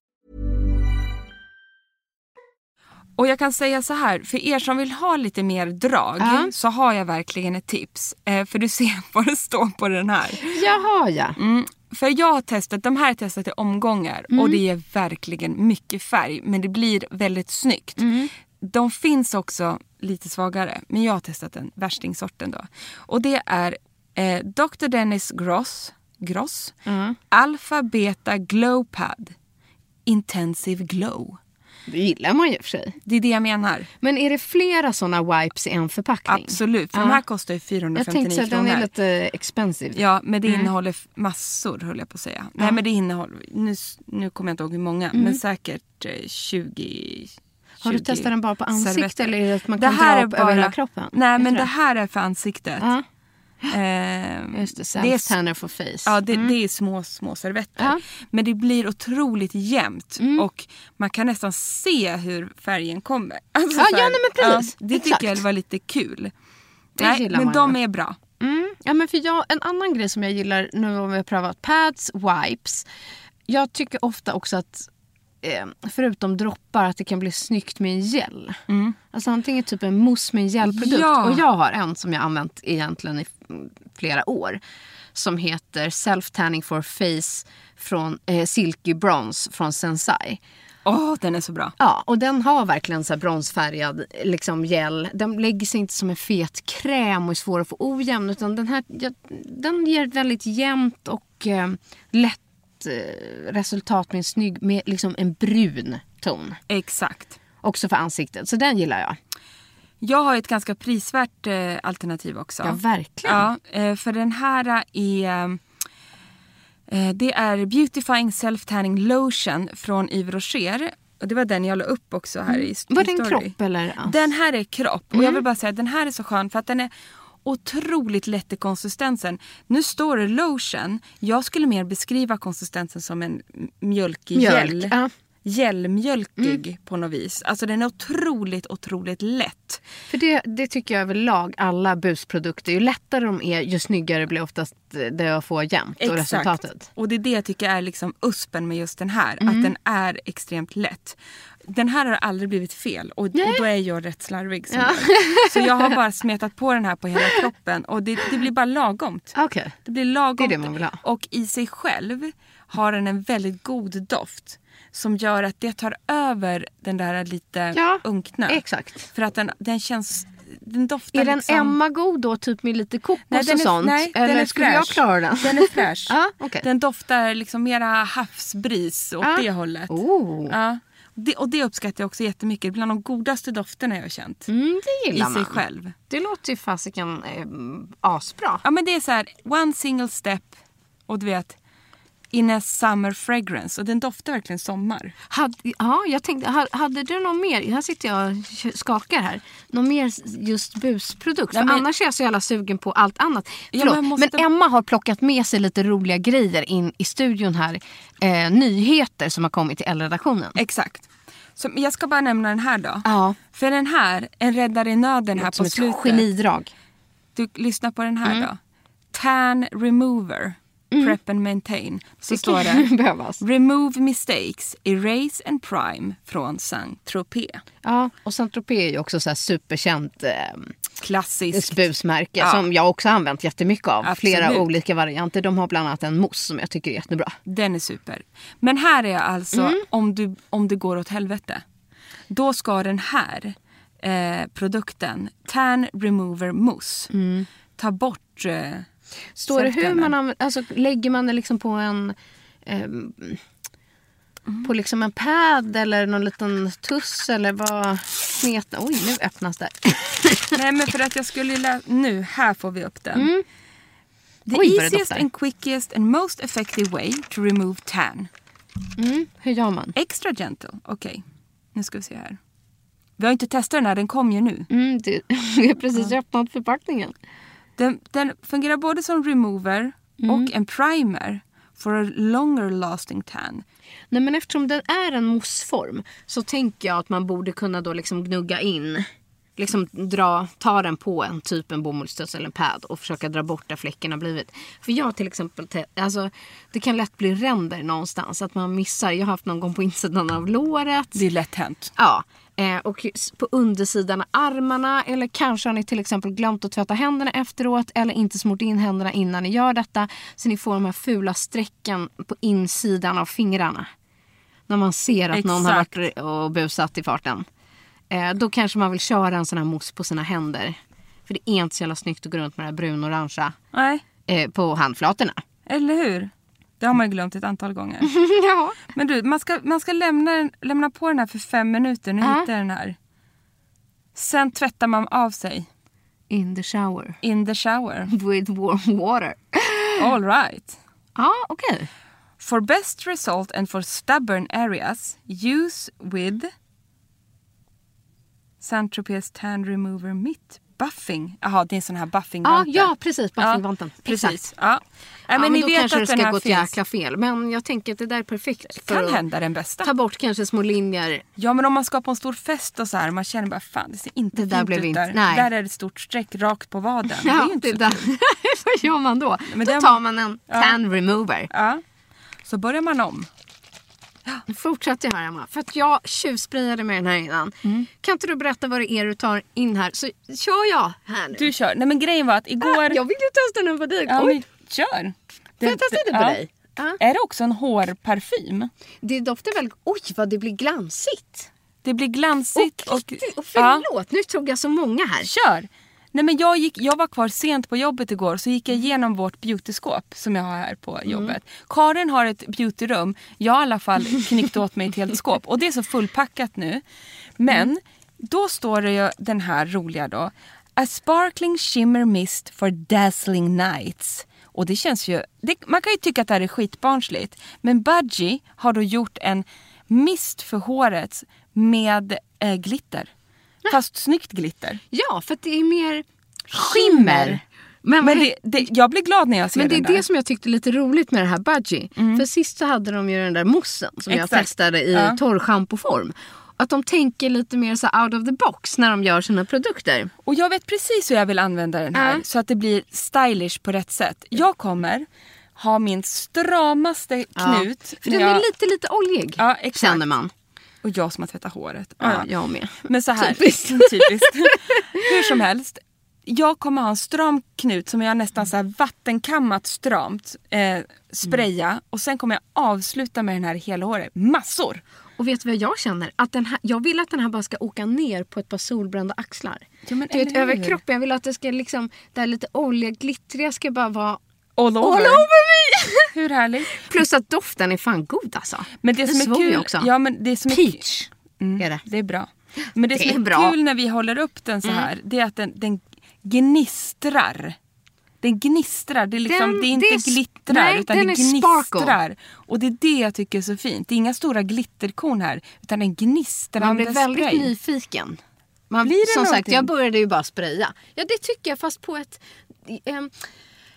[SPEAKER 1] Och jag kan säga så här, för er som vill ha lite mer drag
[SPEAKER 2] Ja.
[SPEAKER 1] så har jag verkligen ett tips. Eh, för du ser (laughs) vad det står på den här.
[SPEAKER 2] Jaha, ja.
[SPEAKER 1] Mm. För jag har testat, de här har jag testat i omgångar och det ger verkligen mycket färg men det blir väldigt snyggt. De finns också lite svagare men jag har testat den värstingsorten då. Och det är eh, Dr. Dennis Gross, Gross Alpha Beta Glow Pad Intensive Glow.
[SPEAKER 2] Det gillar man ju i och för sig.
[SPEAKER 1] Det är det jag menar.
[SPEAKER 2] Men är det flera sådana wipes i en förpackning?
[SPEAKER 1] Absolut, för de
[SPEAKER 2] Ja.
[SPEAKER 1] här kostar ju 459
[SPEAKER 2] Jag tänkte så att den
[SPEAKER 1] kronor.
[SPEAKER 2] är lite Mm. expensive.
[SPEAKER 1] Ja, men det innehåller f- massor höll jag på att säga. Nej, men det innehåller, nu, s- nu kommer jag inte ihåg hur många, men säkert eh, 20.
[SPEAKER 2] Mm. Har du
[SPEAKER 1] 20
[SPEAKER 2] testat den bara på ansikte
[SPEAKER 1] servetter.
[SPEAKER 2] eller är det att man kan dra upp över hela kroppen?
[SPEAKER 1] Nej,
[SPEAKER 2] Jag
[SPEAKER 1] men
[SPEAKER 2] tror
[SPEAKER 1] det
[SPEAKER 2] det.
[SPEAKER 1] här är för ansiktet.
[SPEAKER 2] Ja.
[SPEAKER 1] Ehm,
[SPEAKER 2] Just det,
[SPEAKER 1] det är
[SPEAKER 2] self
[SPEAKER 1] s-
[SPEAKER 2] tanner for face.
[SPEAKER 1] Ja, det, det är små, små servetter.
[SPEAKER 2] Mm. Ja. Mm.
[SPEAKER 1] Men det blir otroligt jämnt och man kan nästan se hur färgen kommer. (laughs) Alltså,
[SPEAKER 2] Ja,
[SPEAKER 1] så här,
[SPEAKER 2] ja, nej, men precis.
[SPEAKER 1] det tycker
[SPEAKER 2] Exakt.
[SPEAKER 1] jag var lite kul.
[SPEAKER 2] Det
[SPEAKER 1] nej,
[SPEAKER 2] gillar
[SPEAKER 1] men
[SPEAKER 2] man
[SPEAKER 1] de
[SPEAKER 2] ju.
[SPEAKER 1] är bra.
[SPEAKER 2] Mm. Ja, men för jag, en annan grej som jag gillar nu om vi har prövat pads, wipes. Jag tycker ofta också att eh, förutom droppar att det kan bli snyggt med en gel. Alltså antingen typ en mousse med en gelprodukt.
[SPEAKER 1] Ja.
[SPEAKER 2] Och jag har en som jag har använt egentligen i mm, flera år. Som heter Self Tanning for Face från eh, Silky Bronze från Sensai.
[SPEAKER 1] Åh, den är så bra.
[SPEAKER 2] Ja, och den har verkligen så här bronsfärgad liksom gel. Den lägger sig inte som en fet kräm och är svår att få ojämn. Utan den här, ja, den ger ett väldigt jämnt och eh, lätt eh, resultat med en snygg, med liksom en brun ton.
[SPEAKER 1] Exakt.
[SPEAKER 2] Också för ansiktet. Så den gillar jag.
[SPEAKER 1] Jag har ett ganska prisvärt eh, alternativ också.
[SPEAKER 2] Ja, verkligen.
[SPEAKER 1] Ja, eh, för den här är... Eh, det är Beautifying Self Tanning Lotion från Yves Rocher. Och det var den jag la upp också här i
[SPEAKER 2] Mm. Var
[SPEAKER 1] i
[SPEAKER 2] det en
[SPEAKER 1] story.
[SPEAKER 2] kropp eller? Mm. ass?
[SPEAKER 1] Den här är kropp. Och jag vill bara säga att den här är så skön för att den är otroligt lätt i konsistensen. Nu står det lotion. Jag skulle mer beskriva konsistensen som en m- mjölkig
[SPEAKER 2] Mjölk,
[SPEAKER 1] gel.
[SPEAKER 2] ja. Mm.
[SPEAKER 1] Gelmjölkig på något vis. Alltså den är otroligt, otroligt lätt.
[SPEAKER 2] För det, det tycker jag överlag, alla busprodukter. Ju lättare de är, ju snyggare blir oftast eh, det jag får jämnt och resultatet. Mm.
[SPEAKER 1] Och det är det jag tycker är liksom uspen med just den här. Att den är extremt lätt. Den här har aldrig blivit fel och, och då är jag rätt slarvig. som jag är. Så jag har
[SPEAKER 2] (laughs)
[SPEAKER 1] bara smetat på den här på hela kroppen och det, det blir bara lagomt.
[SPEAKER 2] Okej.
[SPEAKER 1] Det blir lagom.
[SPEAKER 2] Det är det man vill ha.
[SPEAKER 1] Och i sig själv har den en väldigt god doft som gör att det tar över den där lite
[SPEAKER 2] Ja,
[SPEAKER 1] unkna.
[SPEAKER 2] exakt.
[SPEAKER 1] För att den, den känns... Den doftar
[SPEAKER 2] Är den
[SPEAKER 1] liksom...
[SPEAKER 2] Emma god då, typ med lite kokos
[SPEAKER 1] Nej, den
[SPEAKER 2] och
[SPEAKER 1] är-
[SPEAKER 2] sånt?
[SPEAKER 1] nej, den
[SPEAKER 2] Eller
[SPEAKER 1] är
[SPEAKER 2] skulle jag
[SPEAKER 1] fräsch.
[SPEAKER 2] klara den?
[SPEAKER 1] Den är fräsch.
[SPEAKER 2] (laughs) Ja, okej.
[SPEAKER 1] Den doftar liksom mera havsbris åt
[SPEAKER 2] Ja.
[SPEAKER 1] det hållet.
[SPEAKER 2] Oh.
[SPEAKER 1] Ja. Det, och det uppskattar jag också jättemycket. Det är Bland de godaste dofterna jag har känt.
[SPEAKER 2] Mm, det
[SPEAKER 1] I
[SPEAKER 2] gillar
[SPEAKER 1] sig
[SPEAKER 2] man.
[SPEAKER 1] själv.
[SPEAKER 2] Det låter ju fasiken eh, asbra.
[SPEAKER 1] Ja men det är så här, one single step och du vet, in a summer fragrance. Och den doftar verkligen sommar.
[SPEAKER 2] Hade, ja, jag tänkte, ha- hade du någon mer, här sitter jag och skakar här, någon mer just busprodukt?
[SPEAKER 1] Nej,
[SPEAKER 2] För
[SPEAKER 1] men-
[SPEAKER 2] annars är jag så jävla sugen på allt annat.
[SPEAKER 1] Ja,
[SPEAKER 2] Förlåt,
[SPEAKER 1] men
[SPEAKER 2] men,
[SPEAKER 1] måste-
[SPEAKER 2] Emma har plockat med sig lite roliga grejer in i studion här. Eh, nyheter som har kommit till L-redaktionen.
[SPEAKER 1] Exakt. Så men jag ska bara nämna den här då.
[SPEAKER 2] Ja.
[SPEAKER 1] För den här, En räddare i nöden här
[SPEAKER 2] Som
[SPEAKER 1] på
[SPEAKER 2] ett
[SPEAKER 1] slutet.
[SPEAKER 2] genidrag.
[SPEAKER 1] Du, lyssna på den här
[SPEAKER 2] Mm.
[SPEAKER 1] då. Tan Remover. Prep and maintain. Så står det.
[SPEAKER 2] behövas.
[SPEAKER 1] Remove mistakes, erase and prime från Saint-Tropez.
[SPEAKER 2] Ja, och Saint-Tropez är ju också så här superkänt eh,
[SPEAKER 1] Klassiskt.
[SPEAKER 2] busmärke
[SPEAKER 1] Ja.
[SPEAKER 2] som jag också har använt jättemycket av.
[SPEAKER 1] Absolut.
[SPEAKER 2] Flera olika varianter. De har bland annat en mousse som jag tycker är jättebra.
[SPEAKER 1] Den är super. Men här är alltså
[SPEAKER 2] Mm.
[SPEAKER 1] om, du, om det går åt helvete. Då ska den här eh, produkten, Tan Remover Mousse, ta bort bort eh,
[SPEAKER 2] Mm. Står det hur
[SPEAKER 1] sältkannen.
[SPEAKER 2] man använder, alltså lägger man det liksom på en ehm, på liksom en pad eller någon liten tuss eller vad kneta. Oj, nu öppnas det.
[SPEAKER 1] Nej men för att jag skulle ju lä- Nu, här får vi upp den. The
[SPEAKER 2] Oj, vad det
[SPEAKER 1] easiest
[SPEAKER 2] doftar.
[SPEAKER 1] and quickest and most effective way to remove tan.
[SPEAKER 2] Mm, hur gör man?
[SPEAKER 1] Extra gentle. Okej, nu ska vi se här. Vi har inte testat den här, den kom ju nu.
[SPEAKER 2] Mm, det, (laughs) vi har precis öppnat förpackningen.
[SPEAKER 1] Den, den fungerar både som remover och en primer for a longer lasting tan.
[SPEAKER 2] Nej, men eftersom den är en mousseform så tänker jag att man borde kunna då liksom gnugga in. Liksom dra, ta den på en typ en bomullstuss eller en pad och försöka dra bort där fläcken har blivit. För jag till exempel, te- alltså, det kan lätt bli ränder någonstans. Att man missar, jag har haft någon gång på insidan av låret.
[SPEAKER 1] Det är lätt hänt.
[SPEAKER 2] Ja, eh, och s- på undersidan av armarna eller kanske har ni till exempel glömt att tvätta händerna efteråt eller inte smort in händerna innan ni gör detta så ni får de här fula strecken på insidan av fingrarna. När man ser att någon har
[SPEAKER 1] Exakt.
[SPEAKER 2] varit och busat i farten. Eh, då kanske man vill köra en sån här mousse på sina händer. För det är inte så jävla snyggt att gå runt med det här brunorangea
[SPEAKER 1] Nej,
[SPEAKER 2] eh, på handflatorna.
[SPEAKER 1] eller hur? Det har man ju glömt ett antal gånger.
[SPEAKER 2] (laughs) ja.
[SPEAKER 1] Men du, man ska, man ska lämna, den- lämna på den här för fem minuter. Nu
[SPEAKER 2] Ja.
[SPEAKER 1] hittar jag den här. Sen tvättar man av sig.
[SPEAKER 2] In the shower.
[SPEAKER 1] In the
[SPEAKER 2] (laughs)
[SPEAKER 1] shower.
[SPEAKER 2] With warm water.
[SPEAKER 1] All right.
[SPEAKER 2] Ja, okej.
[SPEAKER 1] For best result and for stubborn areas, use with Saint Tropez Tan Remover Mitt Buffing. Jaha, det är en sån här buffing
[SPEAKER 2] Ja, ja, precis. Buffingvanten.
[SPEAKER 1] Ja, precis.
[SPEAKER 2] Exakt.
[SPEAKER 1] Ja. Nej, men
[SPEAKER 2] men
[SPEAKER 1] ni
[SPEAKER 2] då
[SPEAKER 1] vet
[SPEAKER 2] kanske
[SPEAKER 1] att
[SPEAKER 2] det
[SPEAKER 1] den
[SPEAKER 2] ska
[SPEAKER 1] här
[SPEAKER 2] gå
[SPEAKER 1] finns.
[SPEAKER 2] ett jäkla fel. Men jag tänker att det där är perfekt för
[SPEAKER 1] kan
[SPEAKER 2] att
[SPEAKER 1] hända den bästa.
[SPEAKER 2] ta bort kanske små linjer.
[SPEAKER 1] Ja men om man ska på en stor fest och så här man känner bara fan det ser inte
[SPEAKER 2] Det där
[SPEAKER 1] fint
[SPEAKER 2] blev
[SPEAKER 1] ut
[SPEAKER 2] inte-
[SPEAKER 1] där.
[SPEAKER 2] nej.
[SPEAKER 1] Där är det ett stort streck rakt på vaden. det är
[SPEAKER 2] (laughs) Ja,
[SPEAKER 1] ju inte
[SPEAKER 2] det
[SPEAKER 1] så
[SPEAKER 2] där.
[SPEAKER 1] kul.
[SPEAKER 2] Vad gör man då?
[SPEAKER 1] Men
[SPEAKER 2] då
[SPEAKER 1] den-
[SPEAKER 2] tar man en
[SPEAKER 1] Ja.
[SPEAKER 2] tan remover.
[SPEAKER 1] Ja. Så börjar man om.
[SPEAKER 2] Nu fortsätter jag här Emma. För att jag tjuvsprayade med den här innan.
[SPEAKER 1] Mm.
[SPEAKER 2] Kan inte du berätta vad det är du tar in här? Så kör jag här nu.
[SPEAKER 1] Du kör. Nej men grejen var att
[SPEAKER 2] Ah,
[SPEAKER 1] igår...
[SPEAKER 2] Jag vill ju testa den på dig.
[SPEAKER 1] Ja,
[SPEAKER 2] Oj,
[SPEAKER 1] men kör.
[SPEAKER 2] får jag testa den på
[SPEAKER 1] ja.
[SPEAKER 2] dig? Ja.
[SPEAKER 1] Är det också en hårparfym?
[SPEAKER 2] Det doftar väl... Oj, vad det blir glansigt.
[SPEAKER 1] Det blir glansigt och...
[SPEAKER 2] och, och förlåt, nu tog jag så många här.
[SPEAKER 1] Ja, kör! Nej, men jag, gick, jag var kvar sent på jobbet igår så gick jag igenom vårt beautyskåp som jag har här på jobbet. Karin har ett beautyrum. Jag har i alla fall knyckt åt mig ett helt skåp och det är så fullpackat nu. Men då står det ju den här roliga då. A sparkling shimmer mist for dazzling nights. Och det känns ju, det, man kan ju tycka att det här är skitbarnsligt. Men Budgie har då gjort en mist för håret med eh, glitter. Fast snyggt glitter.
[SPEAKER 2] Ja, för att det är mer skimmer. Men,
[SPEAKER 1] Men det, det, jag blir glad när jag ser
[SPEAKER 2] men det är
[SPEAKER 1] den där. Mm.
[SPEAKER 2] det som jag tyckte är lite roligt med det här budgie. För sist så hade de ju den där moussen som jag
[SPEAKER 1] Exakt.
[SPEAKER 2] testade i
[SPEAKER 1] Ja.
[SPEAKER 2] torrschampoform. Att de tänker lite mer så out of the box när de gör sina produkter.
[SPEAKER 1] Och jag vet precis hur jag vill använda den här
[SPEAKER 2] Ja.
[SPEAKER 1] så att det blir stylish på rätt sätt. Jag kommer ha min stramaste knut.
[SPEAKER 2] För
[SPEAKER 1] när
[SPEAKER 2] den
[SPEAKER 1] jag,
[SPEAKER 2] är lite, lite oljig
[SPEAKER 1] Ja, exakt.
[SPEAKER 2] känner man.
[SPEAKER 1] Och jag som har tvättat håret.
[SPEAKER 2] Ja,
[SPEAKER 1] Ja.
[SPEAKER 2] Jag med.
[SPEAKER 1] Men så här, typ.
[SPEAKER 2] Typiskt.
[SPEAKER 1] (laughs) typiskt. Hur som helst. Jag kommer ha en stram knut som jag nästan så här vattenkammat stramt eh, spraya
[SPEAKER 2] Mm.
[SPEAKER 1] och sen kommer jag avsluta med den här i hela håret. Massor!
[SPEAKER 2] Och vet du vad jag känner? Att den här, jag vill att den här bara ska åka ner på ett par solbrända axlar.
[SPEAKER 1] Ja, men
[SPEAKER 2] du vet,
[SPEAKER 1] eller hur?
[SPEAKER 2] över kroppen. Jag vill att det ska liksom, det här lite oljiga, glittriga ska bara vara
[SPEAKER 1] All over.
[SPEAKER 2] all over me!
[SPEAKER 1] Hur härligt?
[SPEAKER 2] Plus att doften är fan god alltså.
[SPEAKER 1] Men det
[SPEAKER 2] Den
[SPEAKER 1] som är
[SPEAKER 2] svor
[SPEAKER 1] kul
[SPEAKER 2] jag också.
[SPEAKER 1] Ja, men det som är
[SPEAKER 2] Peach
[SPEAKER 1] Mm,
[SPEAKER 2] är det.
[SPEAKER 1] Det är bra. Men det,
[SPEAKER 2] Det
[SPEAKER 1] som är,
[SPEAKER 2] är bra. Mm.
[SPEAKER 1] kul när vi håller upp den så här, det är att den, den gnistrar. Den gnistrar, det är, liksom,
[SPEAKER 2] Den-
[SPEAKER 1] det är inte
[SPEAKER 2] det är sp-
[SPEAKER 1] glittrar
[SPEAKER 2] nej,
[SPEAKER 1] utan
[SPEAKER 2] den
[SPEAKER 1] det
[SPEAKER 2] är sparkle.
[SPEAKER 1] gnistrar. Och det är det jag tycker är så fint. Det är inga stora glitterkorn här utan en gnistrande
[SPEAKER 2] Man blir väldigt
[SPEAKER 1] spray.
[SPEAKER 2] nyfiken. Man,
[SPEAKER 1] Blir det
[SPEAKER 2] som sagt,
[SPEAKER 1] någonting?
[SPEAKER 2] jag började ju bara spraya. Ja, det tycker jag fast på ett... ehm,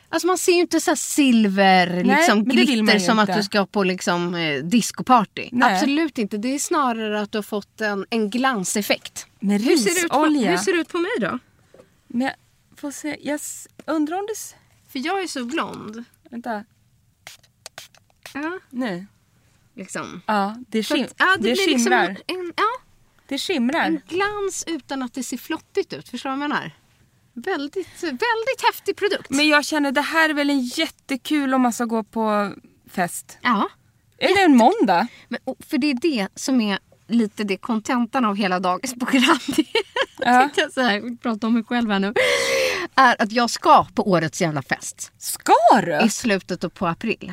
[SPEAKER 2] alltså man ser ju inte så här silver liksom,
[SPEAKER 1] men det vill man
[SPEAKER 2] glitter
[SPEAKER 1] ju
[SPEAKER 2] som
[SPEAKER 1] inte.
[SPEAKER 2] att du ska på liksom, eh, discoparty.
[SPEAKER 1] Nej.
[SPEAKER 2] Absolut inte. Det är snarare att du har fått en, en glanseffekt.
[SPEAKER 1] Med
[SPEAKER 2] Hur ser, det ut på,
[SPEAKER 1] risolja.
[SPEAKER 2] hur ser det ut på mig då?
[SPEAKER 1] Men jag får se, jag s- undrar om det... s-
[SPEAKER 2] För jag är så blond.
[SPEAKER 1] Vänta,
[SPEAKER 2] Ja,
[SPEAKER 1] nu.
[SPEAKER 2] liksom.
[SPEAKER 1] Ja, det,
[SPEAKER 2] Så
[SPEAKER 1] skim,
[SPEAKER 2] att, ja, det,
[SPEAKER 1] det,
[SPEAKER 2] blir liksom
[SPEAKER 1] skimrar.
[SPEAKER 2] en, en, ja,
[SPEAKER 1] Det skimrar.
[SPEAKER 2] en glans utan att det ser flottigt ut. Förstår du vad jag menar? Väldigt, väldigt häftig produkt.
[SPEAKER 1] Men jag känner det här är väl en jättekul om man ska gå på fest.
[SPEAKER 2] ja.
[SPEAKER 1] Eller en måndag.
[SPEAKER 2] Men, och, för det är det som är lite det kontentan av hela dagens program. (laughs) Det är tänkte jag så här, jag prata om mig själv här nu. Är att jag ska på årets jävla fest.
[SPEAKER 1] Ska du?
[SPEAKER 2] I slutet på april.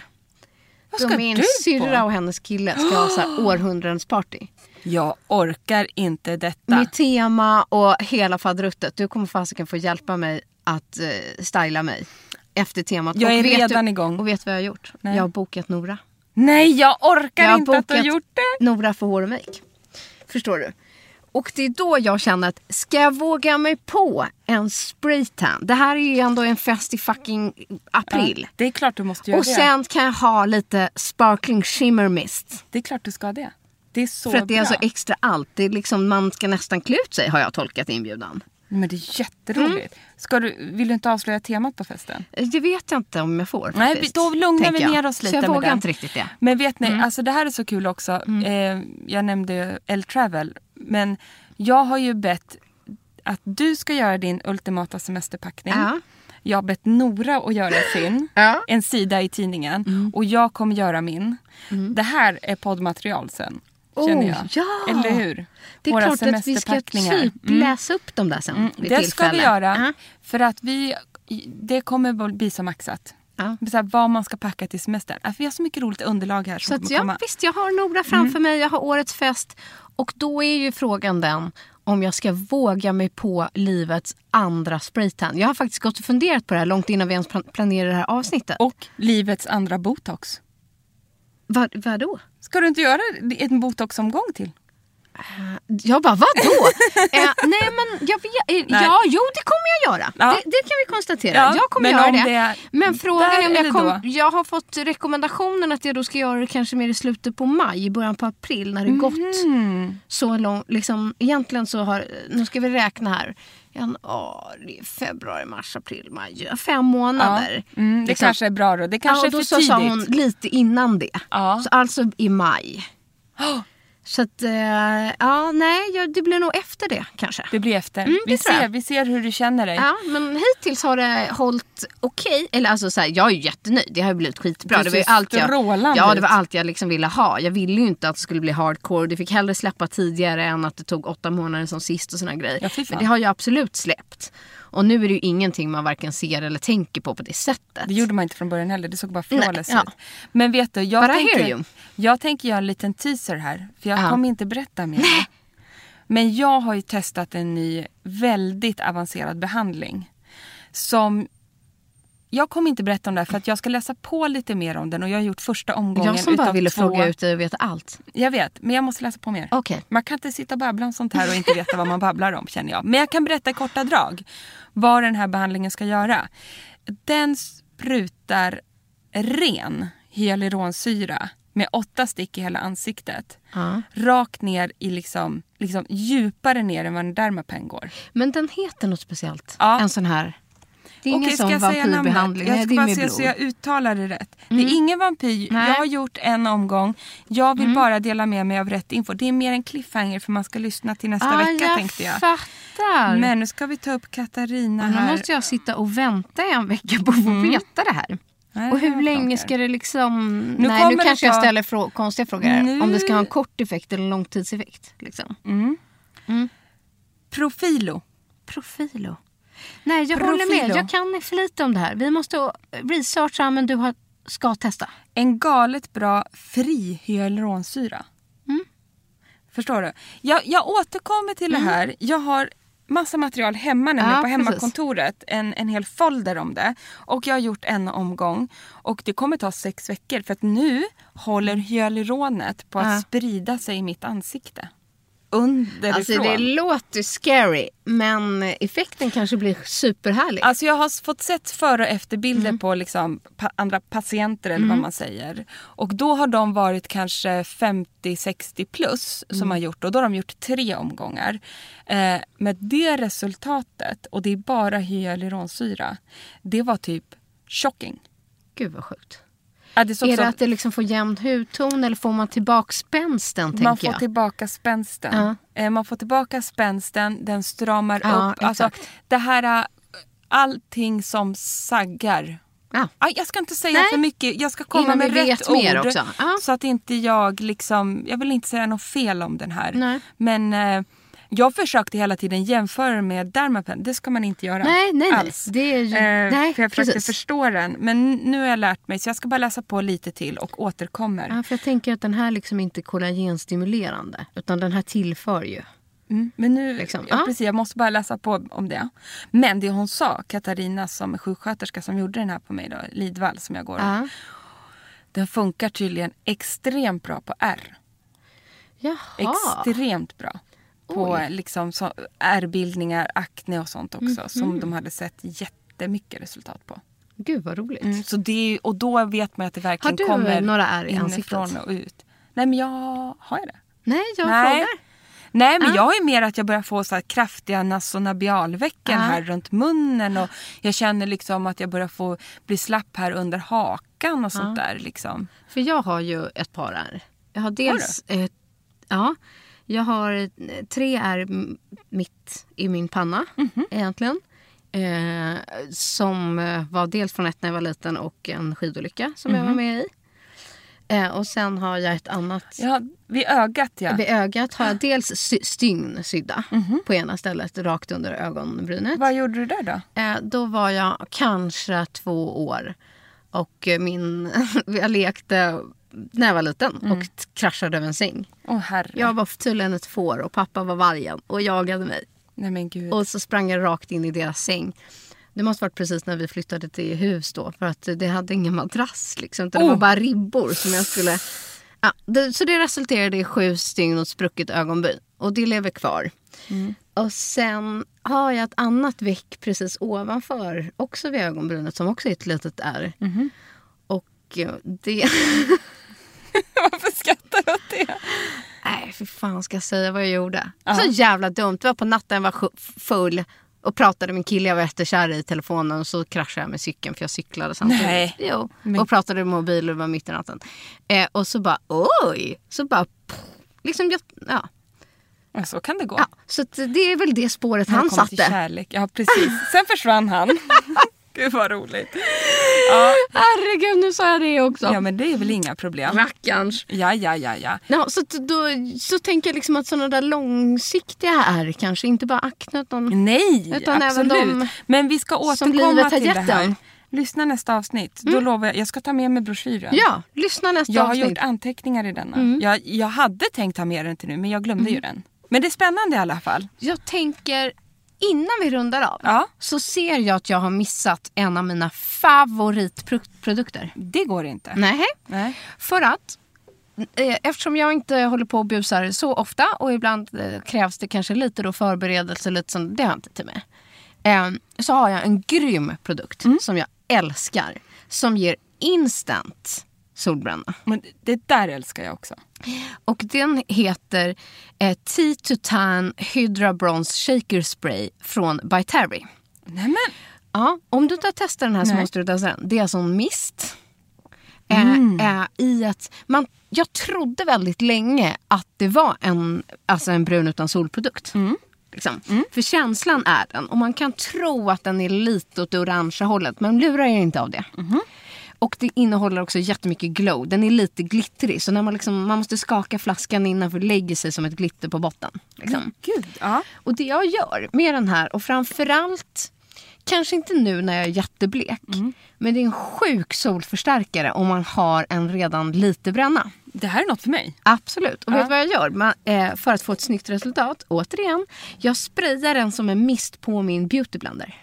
[SPEAKER 1] Vad
[SPEAKER 2] Då
[SPEAKER 1] ska
[SPEAKER 2] min
[SPEAKER 1] du
[SPEAKER 2] syrra
[SPEAKER 1] på?
[SPEAKER 2] och hennes kille ska ha så
[SPEAKER 1] (gasps)
[SPEAKER 2] här århundradets party.
[SPEAKER 1] Jag orkar inte detta.
[SPEAKER 2] Mitt tema och hela faderuttet. Du kommer fasiken få hjälpa mig att eh, styla mig efter temat.
[SPEAKER 1] Jag
[SPEAKER 2] Och
[SPEAKER 1] är
[SPEAKER 2] vet
[SPEAKER 1] redan
[SPEAKER 2] du,
[SPEAKER 1] igång.
[SPEAKER 2] Och vet du vad jag har gjort?
[SPEAKER 1] Nej.
[SPEAKER 2] Jag har bokat Nora.
[SPEAKER 1] Nej, jag orkar
[SPEAKER 2] Jag har
[SPEAKER 1] inte att du har
[SPEAKER 2] bokat
[SPEAKER 1] gjort det.
[SPEAKER 2] Nora för hår och make. Förstår du? Och det är då jag känner att ska jag våga mig på en spraytan? Det här är ju ändå en fest i fucking april.
[SPEAKER 1] Det är klart du måste göra
[SPEAKER 2] och sen kan jag ha lite sparkling shimmer mist.
[SPEAKER 1] det. Det är klart du ska det. Det är så
[SPEAKER 2] för att det är
[SPEAKER 1] bra.
[SPEAKER 2] så extra allt. Det är liksom, man ska nästan klä ut sig har jag tolkat inbjudan.
[SPEAKER 1] Men det är jätteroligt.
[SPEAKER 2] Mm.
[SPEAKER 1] Ska du, vill du inte avslöja temat på festen?
[SPEAKER 2] Det vet jag inte om jag får.
[SPEAKER 1] Nej,
[SPEAKER 2] faktiskt,
[SPEAKER 1] då lugnar
[SPEAKER 2] tänker
[SPEAKER 1] vi
[SPEAKER 2] jag.
[SPEAKER 1] ner oss lite
[SPEAKER 2] Så jag
[SPEAKER 1] med
[SPEAKER 2] vågar
[SPEAKER 1] den.
[SPEAKER 2] inte riktigt det.
[SPEAKER 1] Men vet ni,
[SPEAKER 2] Mm.
[SPEAKER 1] alltså det här är så kul också. Eh, jag nämnde ju L-Travel. Men jag har ju bett att du ska göra din ultimata semesterpackning.
[SPEAKER 2] Ja.
[SPEAKER 1] Jag har bett Nora att
[SPEAKER 2] (laughs)
[SPEAKER 1] göra sin.
[SPEAKER 2] Ja. Mm.
[SPEAKER 1] En sida i tidningen. Och jag kommer göra min. Det här är poddmaterial sen. Känner
[SPEAKER 2] Oh,
[SPEAKER 1] jag.
[SPEAKER 2] ja.
[SPEAKER 1] Eller hur?
[SPEAKER 2] Det är
[SPEAKER 1] Våra
[SPEAKER 2] klart att vi ska
[SPEAKER 1] semesterpackningar.
[SPEAKER 2] typ
[SPEAKER 1] Mm.
[SPEAKER 2] läsa upp dem där sen.
[SPEAKER 1] Mm,
[SPEAKER 2] vid
[SPEAKER 1] det ska vi
[SPEAKER 2] tillfälle.
[SPEAKER 1] göra.
[SPEAKER 2] Ja.
[SPEAKER 1] För att vi, det kommer väl bli som maxat.
[SPEAKER 2] Ja.
[SPEAKER 1] Så här, vad man ska packa till semestern. Att vi har så mycket roligt underlag här
[SPEAKER 2] Så
[SPEAKER 1] som
[SPEAKER 2] att
[SPEAKER 1] kommer komma. Mm.
[SPEAKER 2] jag, visst, jag har Nora framför mig, jag har årets fest. Och då är ju frågan den om jag ska våga mig på livets andra spraytan. Jag har faktiskt gått och funderat på det här långt innan vi ens plan- planerade det här avsnittet.
[SPEAKER 1] Och livets andra botox.
[SPEAKER 2] Vad, vadå?
[SPEAKER 1] Ska du inte göra en botoxomgång till?
[SPEAKER 2] Jag bara, vadå? eh, nej men jag vet, eh,
[SPEAKER 1] (laughs) Nej.
[SPEAKER 2] ja jo det kommer jag göra.
[SPEAKER 1] Ja.
[SPEAKER 2] Det, det kan vi konstatera.
[SPEAKER 1] Ja,
[SPEAKER 2] jag kommer
[SPEAKER 1] men
[SPEAKER 2] göra
[SPEAKER 1] om
[SPEAKER 2] det.
[SPEAKER 1] det är
[SPEAKER 2] men frågan
[SPEAKER 1] där
[SPEAKER 2] är om jag
[SPEAKER 1] eller
[SPEAKER 2] kom,
[SPEAKER 1] då?
[SPEAKER 2] Jag har fått rekommendationen att jag då ska göra det kanske mer i slutet på maj, i början på april när det gått
[SPEAKER 1] Mm.
[SPEAKER 2] så långt. Liksom, egentligen så har, nu ska vi räkna här. Januari, februari, mars, april, maj. Fem månader.
[SPEAKER 1] Mm, det
[SPEAKER 2] Liksom.
[SPEAKER 1] kanske är bra då. Det kanske
[SPEAKER 2] ja,
[SPEAKER 1] är
[SPEAKER 2] och då
[SPEAKER 1] för
[SPEAKER 2] så
[SPEAKER 1] tidigt.
[SPEAKER 2] sa hon lite innan det.
[SPEAKER 1] Ja.
[SPEAKER 2] Så alltså i maj.
[SPEAKER 1] Åh,
[SPEAKER 2] Så att, eh, ja nej, jag- det blir nog efter det kanske.
[SPEAKER 1] det blir efter.
[SPEAKER 2] Mm, det
[SPEAKER 1] vi,
[SPEAKER 2] tror jag.
[SPEAKER 1] ser, vi ser hur du känner dig.
[SPEAKER 2] Ja, men hittills har det hållit okej. Eller alltså så här, jag är ju jättenöjd. Det har ju blivit skitbra.
[SPEAKER 1] Du
[SPEAKER 2] det var ju
[SPEAKER 1] ser
[SPEAKER 2] allt jag,
[SPEAKER 1] strålande
[SPEAKER 2] Ja, det var
[SPEAKER 1] ut.
[SPEAKER 2] allt jag liksom ville ha. Jag ville ju inte att det skulle bli hardcore. Det fick hellre släppa tidigare än att det tog åtta månader som sist och såna grejer.
[SPEAKER 1] Ja, fy fan.
[SPEAKER 2] Men det har ju absolut släppt. Och nu är det ju ingenting man varken ser eller tänker på på det sättet.
[SPEAKER 1] Det gjorde man inte från början heller. Det såg bara
[SPEAKER 2] Nej,
[SPEAKER 1] flawless
[SPEAKER 2] ja.
[SPEAKER 1] ut. Men vet du, jag
[SPEAKER 2] But I hear you.
[SPEAKER 1] tänker, jag tänker göra en liten teaser här. För jag
[SPEAKER 2] Ja.
[SPEAKER 1] kommer inte berätta mer. Men jag har ju testat en ny väldigt avancerad behandling. Som... Jag kommer inte berätta om det här för att jag ska läsa på lite mer om den och jag har gjort första omgången
[SPEAKER 2] jag som bara
[SPEAKER 1] utav
[SPEAKER 2] ville
[SPEAKER 1] två...
[SPEAKER 2] fråga ut dig och veta allt.
[SPEAKER 1] Jag vet, men jag måste läsa på mer.
[SPEAKER 2] Okej.
[SPEAKER 1] Man kan inte sitta och babbla om sånt här och inte veta vad man babblar om känner jag. Men jag kan berätta i korta drag vad den här behandlingen ska göra. Den sprutar ren hyaluronsyra med åtta stick i hela ansiktet.
[SPEAKER 2] Ja.
[SPEAKER 1] Rakt ner i liksom, liksom djupare ner än vad en dermapen går.
[SPEAKER 2] Men den heter något speciellt.
[SPEAKER 1] Ja.
[SPEAKER 2] En sån här. Det är ingen
[SPEAKER 1] Okej, ska
[SPEAKER 2] sån
[SPEAKER 1] jag säga namnet?
[SPEAKER 2] vampyrbehandling.
[SPEAKER 1] Jag
[SPEAKER 2] Nej,
[SPEAKER 1] ska
[SPEAKER 2] det är
[SPEAKER 1] bara
[SPEAKER 2] med
[SPEAKER 1] se
[SPEAKER 2] blod. Mm.
[SPEAKER 1] så jag uttalar det rätt. Det är ingen vampyr.
[SPEAKER 2] Nej. Mm.
[SPEAKER 1] Jag har gjort en omgång. Jag vill bara dela med mig av rätt info. Det är mer en cliffhanger för man ska lyssna till nästa
[SPEAKER 2] ah,
[SPEAKER 1] vecka
[SPEAKER 2] jag
[SPEAKER 1] tänkte jag.
[SPEAKER 2] fattar.
[SPEAKER 1] Men nu ska vi ta upp Katarina
[SPEAKER 2] Men
[SPEAKER 1] här. Mm.
[SPEAKER 2] nu måste jag sitta och vänta i en vecka på att få veta det här.
[SPEAKER 1] Nej,
[SPEAKER 2] Och
[SPEAKER 1] det var
[SPEAKER 2] hur länge
[SPEAKER 1] klart.
[SPEAKER 2] ska det liksom...
[SPEAKER 1] Nu
[SPEAKER 2] Nej, nu
[SPEAKER 1] kommer
[SPEAKER 2] kanske
[SPEAKER 1] det
[SPEAKER 2] jag
[SPEAKER 1] ta-
[SPEAKER 2] ställer frå- konstiga frågor här.
[SPEAKER 1] Nu- Mm.
[SPEAKER 2] Om det ska ha en kort effekt eller en långtidseffekt. Liksom.
[SPEAKER 1] Profilo.
[SPEAKER 2] Profilo. Nej, jag håller med.
[SPEAKER 1] Profilo.
[SPEAKER 2] Jag kan för lite om det här. Vi måste researcha, men du har... ska testa.
[SPEAKER 1] En galet bra fri hyaluronsyra.
[SPEAKER 2] Mm.
[SPEAKER 1] Förstår du? Jag, jag återkommer till det här. Jag har massa material hemma nämligen
[SPEAKER 2] Mm. Ja,
[SPEAKER 1] på
[SPEAKER 2] precis.
[SPEAKER 1] hemmakontoret. En, en hel folder om det. Och jag har gjort en omgång. Och det kommer ta sex veckor för att nu håller hyaluronet på att
[SPEAKER 2] Ja.
[SPEAKER 1] sprida sig i mitt ansikte. Underifrån.
[SPEAKER 2] Alltså det låter scary, men effekten kanske blir superhärlig.
[SPEAKER 1] Alltså jag har fått sett före och efterbilder
[SPEAKER 2] Mm.
[SPEAKER 1] på liksom pa- andra patienter eller vad man säger. Och då har de varit kanske 50-60 plus som
[SPEAKER 2] Mm.
[SPEAKER 1] har gjort och då har de gjort tre omgångar. Eh, men det resultatet, och det är bara hyaluronsyra, det var typ shocking.
[SPEAKER 2] Gud vad sjukt.
[SPEAKER 1] Ja, det såg
[SPEAKER 2] Är
[SPEAKER 1] så-
[SPEAKER 2] det att det liksom får jämn hudton eller får man tillbaka spänsten?
[SPEAKER 1] man
[SPEAKER 2] tänker
[SPEAKER 1] får
[SPEAKER 2] jag?
[SPEAKER 1] tillbaka spänsten.
[SPEAKER 2] Ja.
[SPEAKER 1] Eh, Man får tillbaka spänsten, den stramar
[SPEAKER 2] Ja,
[SPEAKER 1] upp. Alltså,
[SPEAKER 2] exakt.
[SPEAKER 1] det här, eh, allting som saggar
[SPEAKER 2] Ja.
[SPEAKER 1] Aj, jag ska inte säga
[SPEAKER 2] Nej.
[SPEAKER 1] för mycket. Jag ska komma
[SPEAKER 2] Innan
[SPEAKER 1] med
[SPEAKER 2] vi
[SPEAKER 1] rätt
[SPEAKER 2] vet
[SPEAKER 1] ord.
[SPEAKER 2] mer också. Ja.
[SPEAKER 1] Så att inte jag liksom, jag vill inte säga något fel om den här.
[SPEAKER 2] Nej.
[SPEAKER 1] Men eh, Jag försökte hela tiden jämföra med Dermapen. Det ska man inte göra
[SPEAKER 2] Nej, nej, nej.
[SPEAKER 1] alls.
[SPEAKER 2] Det är ju-
[SPEAKER 1] Eh,
[SPEAKER 2] nej,
[SPEAKER 1] för jag försökte
[SPEAKER 2] precis.
[SPEAKER 1] förstå den. Men nu har jag lärt mig så jag ska bara läsa på lite till och återkommer.
[SPEAKER 2] Ja, för jag tänker att den här liksom inte är kollagenstimulerande. Utan den här tillför ju.
[SPEAKER 1] Mm, men nu,
[SPEAKER 2] Liksom,
[SPEAKER 1] ja,
[SPEAKER 2] ja.
[SPEAKER 1] precis, jag måste bara läsa på om det. Men det hon sa, Katarina som är sjuksköterska som gjorde den här på mig då, Lidvall som jag går
[SPEAKER 2] Ja.
[SPEAKER 1] Den funkar tydligen extremt bra på R.
[SPEAKER 2] Jaha.
[SPEAKER 1] Extremt bra. På liksom så, ärrbildningar, akne och sånt också. Som de hade sett jättemycket resultat på.
[SPEAKER 2] Gud vad roligt.
[SPEAKER 1] Mm, så det är, ju- och då vet man att det verkligen
[SPEAKER 2] du, eh,
[SPEAKER 1] kommer
[SPEAKER 2] några ärr i
[SPEAKER 1] inifrån
[SPEAKER 2] ansiktet?
[SPEAKER 1] och ut. Nej men jag, har jag det?
[SPEAKER 2] Nej, jag
[SPEAKER 1] Nej.
[SPEAKER 2] frågar.
[SPEAKER 1] Nej men
[SPEAKER 2] Ah.
[SPEAKER 1] jag är mer att jag börjar få så här kraftiga nasonabialvecken
[SPEAKER 2] Ah.
[SPEAKER 1] här runt munnen och jag känner liksom att jag börjar få bli slapp här under hakan och sånt där liksom.
[SPEAKER 2] För jag har ju ett par ärr. Jag har dels... eh, ja. Jag har eh, tre ärr m- mitt i min panna egentligen. Eh, som eh, var dels från ett när jag var liten och en skidolycka som jag var med i. Eh, och sen har jag ett annat.
[SPEAKER 1] Ja, vid ögat ja.
[SPEAKER 2] Vid ögat har jag dels sy- stygn sydda på ena stället rakt under ögonbrynet.
[SPEAKER 1] Vad gjorde du där då?
[SPEAKER 2] Eh, då var jag kanske två år. Och eh, min, (laughs) jag lekte när jag var liten och t- kraschade över en säng.
[SPEAKER 1] Åh herre.
[SPEAKER 2] Jag var tydligen ett får och pappa var vargen och jagade mig.
[SPEAKER 1] Nej men gud.
[SPEAKER 2] Och så sprang jag rakt in i deras säng. Det måste varit precis när vi flyttade till hus då för att det hade ingen madrass liksom. Utan det var bara ribbor som jag skulle... Ja, det, så det resulterade i sju stygn och ett sprucket ögonbryn. Och det lever kvar. Och sen har jag ett annat veck precis ovanför, också vid ögonbrynet, som också är ett litet ärr. Och eh, det... (laughs)
[SPEAKER 1] (laughs) Varför skrattar du åt det?
[SPEAKER 2] Nej, för fan ska jag säga vad jag gjorde? Så jävla dumt. Det var på natten jag var sju- full och pratade med en kille jag var jättekär i i telefonen och så kraschade jag med cykeln för jag cyklade samtidigt.
[SPEAKER 1] Nej.
[SPEAKER 2] Jo. Och pratade i mobil och det var mitt i natten. Eh, och så bara oj! Så bara pff, liksom jag, ja.
[SPEAKER 1] Ja, så kan det gå.
[SPEAKER 2] ja. Så att det är väl det spåret
[SPEAKER 1] När det
[SPEAKER 2] han
[SPEAKER 1] kommer till
[SPEAKER 2] satte.
[SPEAKER 1] kärlek. Ja precis. Sen försvann
[SPEAKER 2] (laughs)
[SPEAKER 1] han. gud vad roligt. Ja,
[SPEAKER 2] Herregud, nu sa jag det också.
[SPEAKER 1] ja men det är väl inga problem.
[SPEAKER 2] Rackarns.
[SPEAKER 1] Ja ja ja ja.
[SPEAKER 2] Ja, så, att då, så tänker jag liksom att sådana där långsiktiga är kanske inte bara akne utan...
[SPEAKER 1] Nej,
[SPEAKER 2] Utan även
[SPEAKER 1] absolut.
[SPEAKER 2] de
[SPEAKER 1] Men vi ska
[SPEAKER 2] som
[SPEAKER 1] återkomma
[SPEAKER 2] livet har
[SPEAKER 1] till det
[SPEAKER 2] gett
[SPEAKER 1] här.
[SPEAKER 2] en. Mm.
[SPEAKER 1] Lyssna nästa avsnitt. Då lovar jag, jag ska ta med mig broschyren.
[SPEAKER 2] Ja, lyssna nästa
[SPEAKER 1] jag har
[SPEAKER 2] avsnitt. Mm.
[SPEAKER 1] gjort anteckningar i denna. Jag, jag hade tänkt ha med den till nu, men jag glömde ju den. Men det är spännande i alla fall.
[SPEAKER 2] Jag tänker, innan vi rundar av,
[SPEAKER 1] Ja.
[SPEAKER 2] så ser jag att jag har missat en av mina favoritprodukter.
[SPEAKER 1] Det går inte.
[SPEAKER 2] Nej.
[SPEAKER 1] Nej.
[SPEAKER 2] För att, eh, eftersom jag inte håller på och busar så ofta och ibland eh, krävs det kanske lite då förberedelse, lite sånt, det har inte till mig. Eh, så har jag en grym produkt
[SPEAKER 1] Mm.
[SPEAKER 2] som jag älskar, som ger instant solbränna.
[SPEAKER 1] Men det där älskar jag också.
[SPEAKER 2] Och den heter eh, T-Tutan Hydra Bronze Shaker Spray från By Terry.
[SPEAKER 1] Nej men,
[SPEAKER 2] Ja, om du inte har testat den här så
[SPEAKER 1] Nej.
[SPEAKER 2] måste du testa den. Det är alltså en mist. Eh, eh, i att man, jag trodde väldigt länge att det var en, alltså en brun utan solprodukt. Liksom. För känslan är den. Och man kan tro att den är lite åt det orangea hållet. Men lura er inte av det. Och det innehåller också jättemycket glow. Den är lite glittrig. Så när man, liksom, man måste skaka flaskan innan för det lägger sig som ett glitter på botten. Liksom.
[SPEAKER 1] gud. Ja.
[SPEAKER 2] Och det jag gör med den här och framförallt Kanske inte nu när jag är jätteblek. Men det är en sjuk solförstärkare om man har en redan lite bränna.
[SPEAKER 1] Det här är något för mig.
[SPEAKER 2] Absolut. Och vet du vad jag gör man, eh, för att få ett snyggt resultat? Återigen, jag sprayar den som en mist på min beautyblender.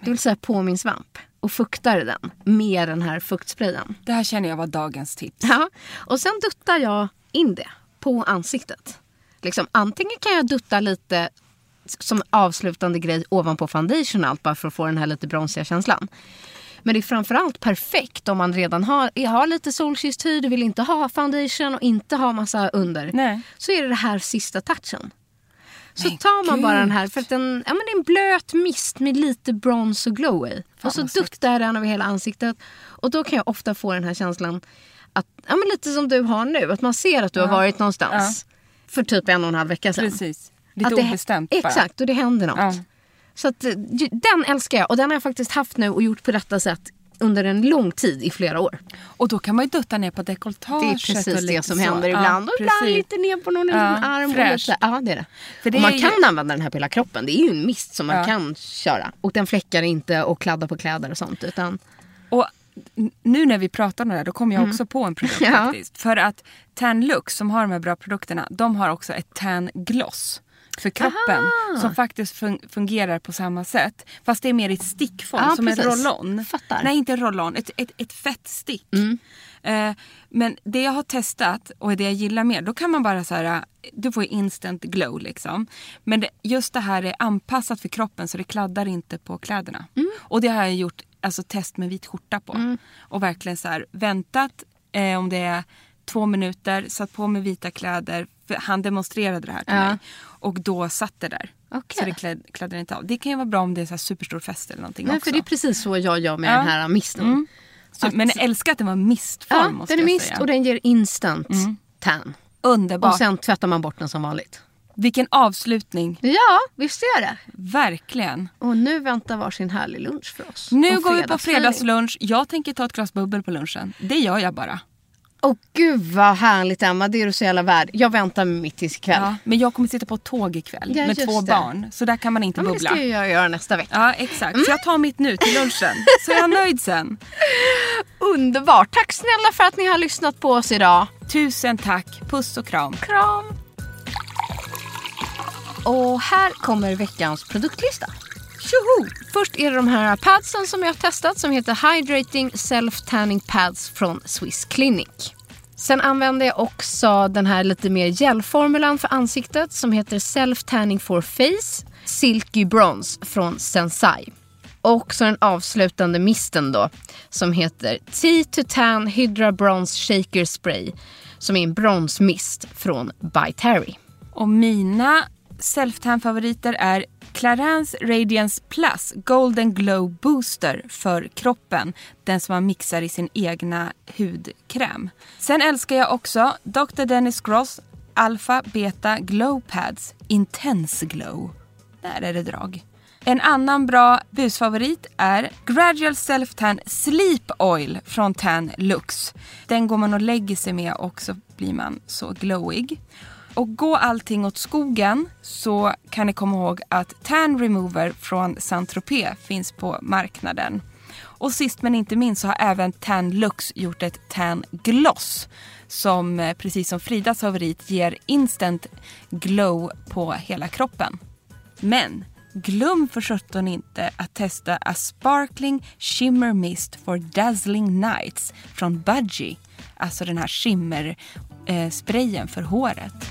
[SPEAKER 2] Det vill säga på min svamp. Och fuktar den med den här fuktsprayen.
[SPEAKER 1] Det här känner jag var dagens tips.
[SPEAKER 2] (laughs) Ja, och sen duttar jag in det på ansiktet. Liksom, antingen kan jag dutta lite s- som avslutande grej ovanpå foundation och allt bara för att få den här lite bronsiga känslan. Men det är framförallt perfekt om man redan har, har lite solkysst hy, du vill inte ha foundation och inte ha massa under.
[SPEAKER 1] Nej.
[SPEAKER 2] Så är det det här sista touchen. Så
[SPEAKER 1] Men
[SPEAKER 2] tar man bara den här,
[SPEAKER 1] gud.
[SPEAKER 2] för att den, ja, men det är en blöt mist med lite brons och glow i. och så
[SPEAKER 1] vad snyggt.
[SPEAKER 2] duttar jag den över hela ansiktet. Och då kan jag ofta få den här känslan, att, ja, men lite som du har nu, att man ser att du har varit någonstans för typ en och en halv vecka sedan.
[SPEAKER 1] Precis. Lite
[SPEAKER 2] Att det,
[SPEAKER 1] obestämt bara.
[SPEAKER 2] Exakt, och det händer något.
[SPEAKER 1] Ja.
[SPEAKER 2] Så att, eh, ju- den älskar jag och den har jag faktiskt haft nu och gjort på detta sätt under en lång tid i flera år.
[SPEAKER 1] Och då kan man ju dutta ner på dekolletaget.
[SPEAKER 2] Det är precis
[SPEAKER 1] och lite
[SPEAKER 2] det som
[SPEAKER 1] så.
[SPEAKER 2] händer
[SPEAKER 1] Ja,
[SPEAKER 2] ibland. och ibland
[SPEAKER 1] precis.
[SPEAKER 2] lite ner på någon liten
[SPEAKER 1] Ja,
[SPEAKER 2] arm. Och
[SPEAKER 1] fräscht.
[SPEAKER 2] lite, ja, det är det.
[SPEAKER 1] För det
[SPEAKER 2] och man
[SPEAKER 1] är ju-
[SPEAKER 2] kan använda den här på hela kroppen. Det är ju en mist som man kan köra. Och den fläckar inte och kladdar på kläder och sånt. Utan
[SPEAKER 1] Och n- nu när vi pratar om det här då kom jag också på en produkt
[SPEAKER 2] Mm. (laughs) Ja.
[SPEAKER 1] faktiskt. För att Tan Lux som har de här bra produkterna, de har också ett tan gloss för kroppen som faktiskt fun- fungerar på samma sätt. Fast det är mer i ett stickform,
[SPEAKER 2] Ja,
[SPEAKER 1] som en
[SPEAKER 2] precis.
[SPEAKER 1] roll-on.
[SPEAKER 2] Fattar.
[SPEAKER 1] Nej, inte en roll-on, ett, ett, ett fett stick.
[SPEAKER 2] Mm.
[SPEAKER 1] Eh, men det jag har testat och det jag gillar mer, då kan man bara så här, eh, du får ju instant glow liksom. Men det, just det här är anpassat för kroppen så det kladdar inte på kläderna.
[SPEAKER 2] Mm.
[SPEAKER 1] Och det har jag gjort alltså, test med vit skjorta på. Och verkligen så här, väntat eh, om det är två minuter, satt på mig vita kläder. För han demonstrerade det här till mig. Och då satt det där.
[SPEAKER 2] Okej.
[SPEAKER 1] Så det kläd, kladdar inte av. Det kan ju vara bra om det är så här superstor fest eller någonting
[SPEAKER 2] Nej,
[SPEAKER 1] också.
[SPEAKER 2] för det är precis så jag gör med
[SPEAKER 1] Ja.
[SPEAKER 2] den här misten.
[SPEAKER 1] så, men jag älskar att den var mistform
[SPEAKER 2] Ja,
[SPEAKER 1] måste
[SPEAKER 2] Mm. den är
[SPEAKER 1] jag
[SPEAKER 2] mist
[SPEAKER 1] säga. Mm.
[SPEAKER 2] och den ger instant tan.
[SPEAKER 1] Underbart.
[SPEAKER 2] Och sen tvättar man bort den som vanligt.
[SPEAKER 1] Vilken avslutning.
[SPEAKER 2] Ja, visst är det.
[SPEAKER 1] Verkligen.
[SPEAKER 2] Och nu väntar varsin härlig lunch för oss.
[SPEAKER 1] Nu
[SPEAKER 2] Och
[SPEAKER 1] går vi på
[SPEAKER 2] fredagsfeeling.
[SPEAKER 1] fredagslunch. Jag tänker ta ett glas bubbel på lunchen. Det gör jag bara.
[SPEAKER 2] Åh gud vad härligt Emma, det är du så jävla värd. Jag väntar med mitt tills ikväll.
[SPEAKER 1] Ja, men jag kommer sitta på ett tåg ikväll
[SPEAKER 2] Ja,
[SPEAKER 1] med
[SPEAKER 2] just
[SPEAKER 1] två
[SPEAKER 2] det.
[SPEAKER 1] barn. Så där kan man inte
[SPEAKER 2] Ja, men det
[SPEAKER 1] bubbla.
[SPEAKER 2] ska ju jag göra nästa vecka.
[SPEAKER 1] Ja, exakt. Så jag tar mitt nu till
[SPEAKER 2] (laughs)
[SPEAKER 1] lunchen. Så är jag nöjd sen.
[SPEAKER 2] Underbart! Tack snälla för att ni har lyssnat på oss idag.
[SPEAKER 1] Tusen tack. Puss och kram.
[SPEAKER 2] Kram! Och här kommer veckans produktlista. Tjoho! Först är det de här padsen som jag har testat som heter Hydrating Self Tanning Pads från Swiss Clinic. Sen använder jag också den här lite mer gelformulan för ansiktet som heter Self Tanning for Face Silky Bronze från Sensai. Och så den avslutande misten då som heter Tea to Tan Hydra Bronze Shaker Spray som är en bronsmist från By Terry.
[SPEAKER 1] Och mina self-tan-favoriter är Clarins Radiance Plus Golden Glow Booster för kroppen. Den som man mixar i sin egna hudkräm. Sen älskar jag också Dr. Dennis Gross Alpha Beta Glow Pads Intense Glow. Där är det drag. En annan bra busfavorit är Gradual Self Tan Sleep Oil från Tan Lux. Den går man och lägger sig med och så blir man så glowig. Och gå allting åt skogen så kan ni komma ihåg att Tan Remover från saint Tropez finns på marknaden. Och sist men inte minst så har även Tan Lux gjort ett Tan Gloss som eh, precis som Fridas favorit ger instant glow på hela kroppen. Men glöm för sjutton inte att testa A Sparkling Shimmer Mist for Dazzling Nights från Budgie. Alltså den här shimmer-sprayen för håret.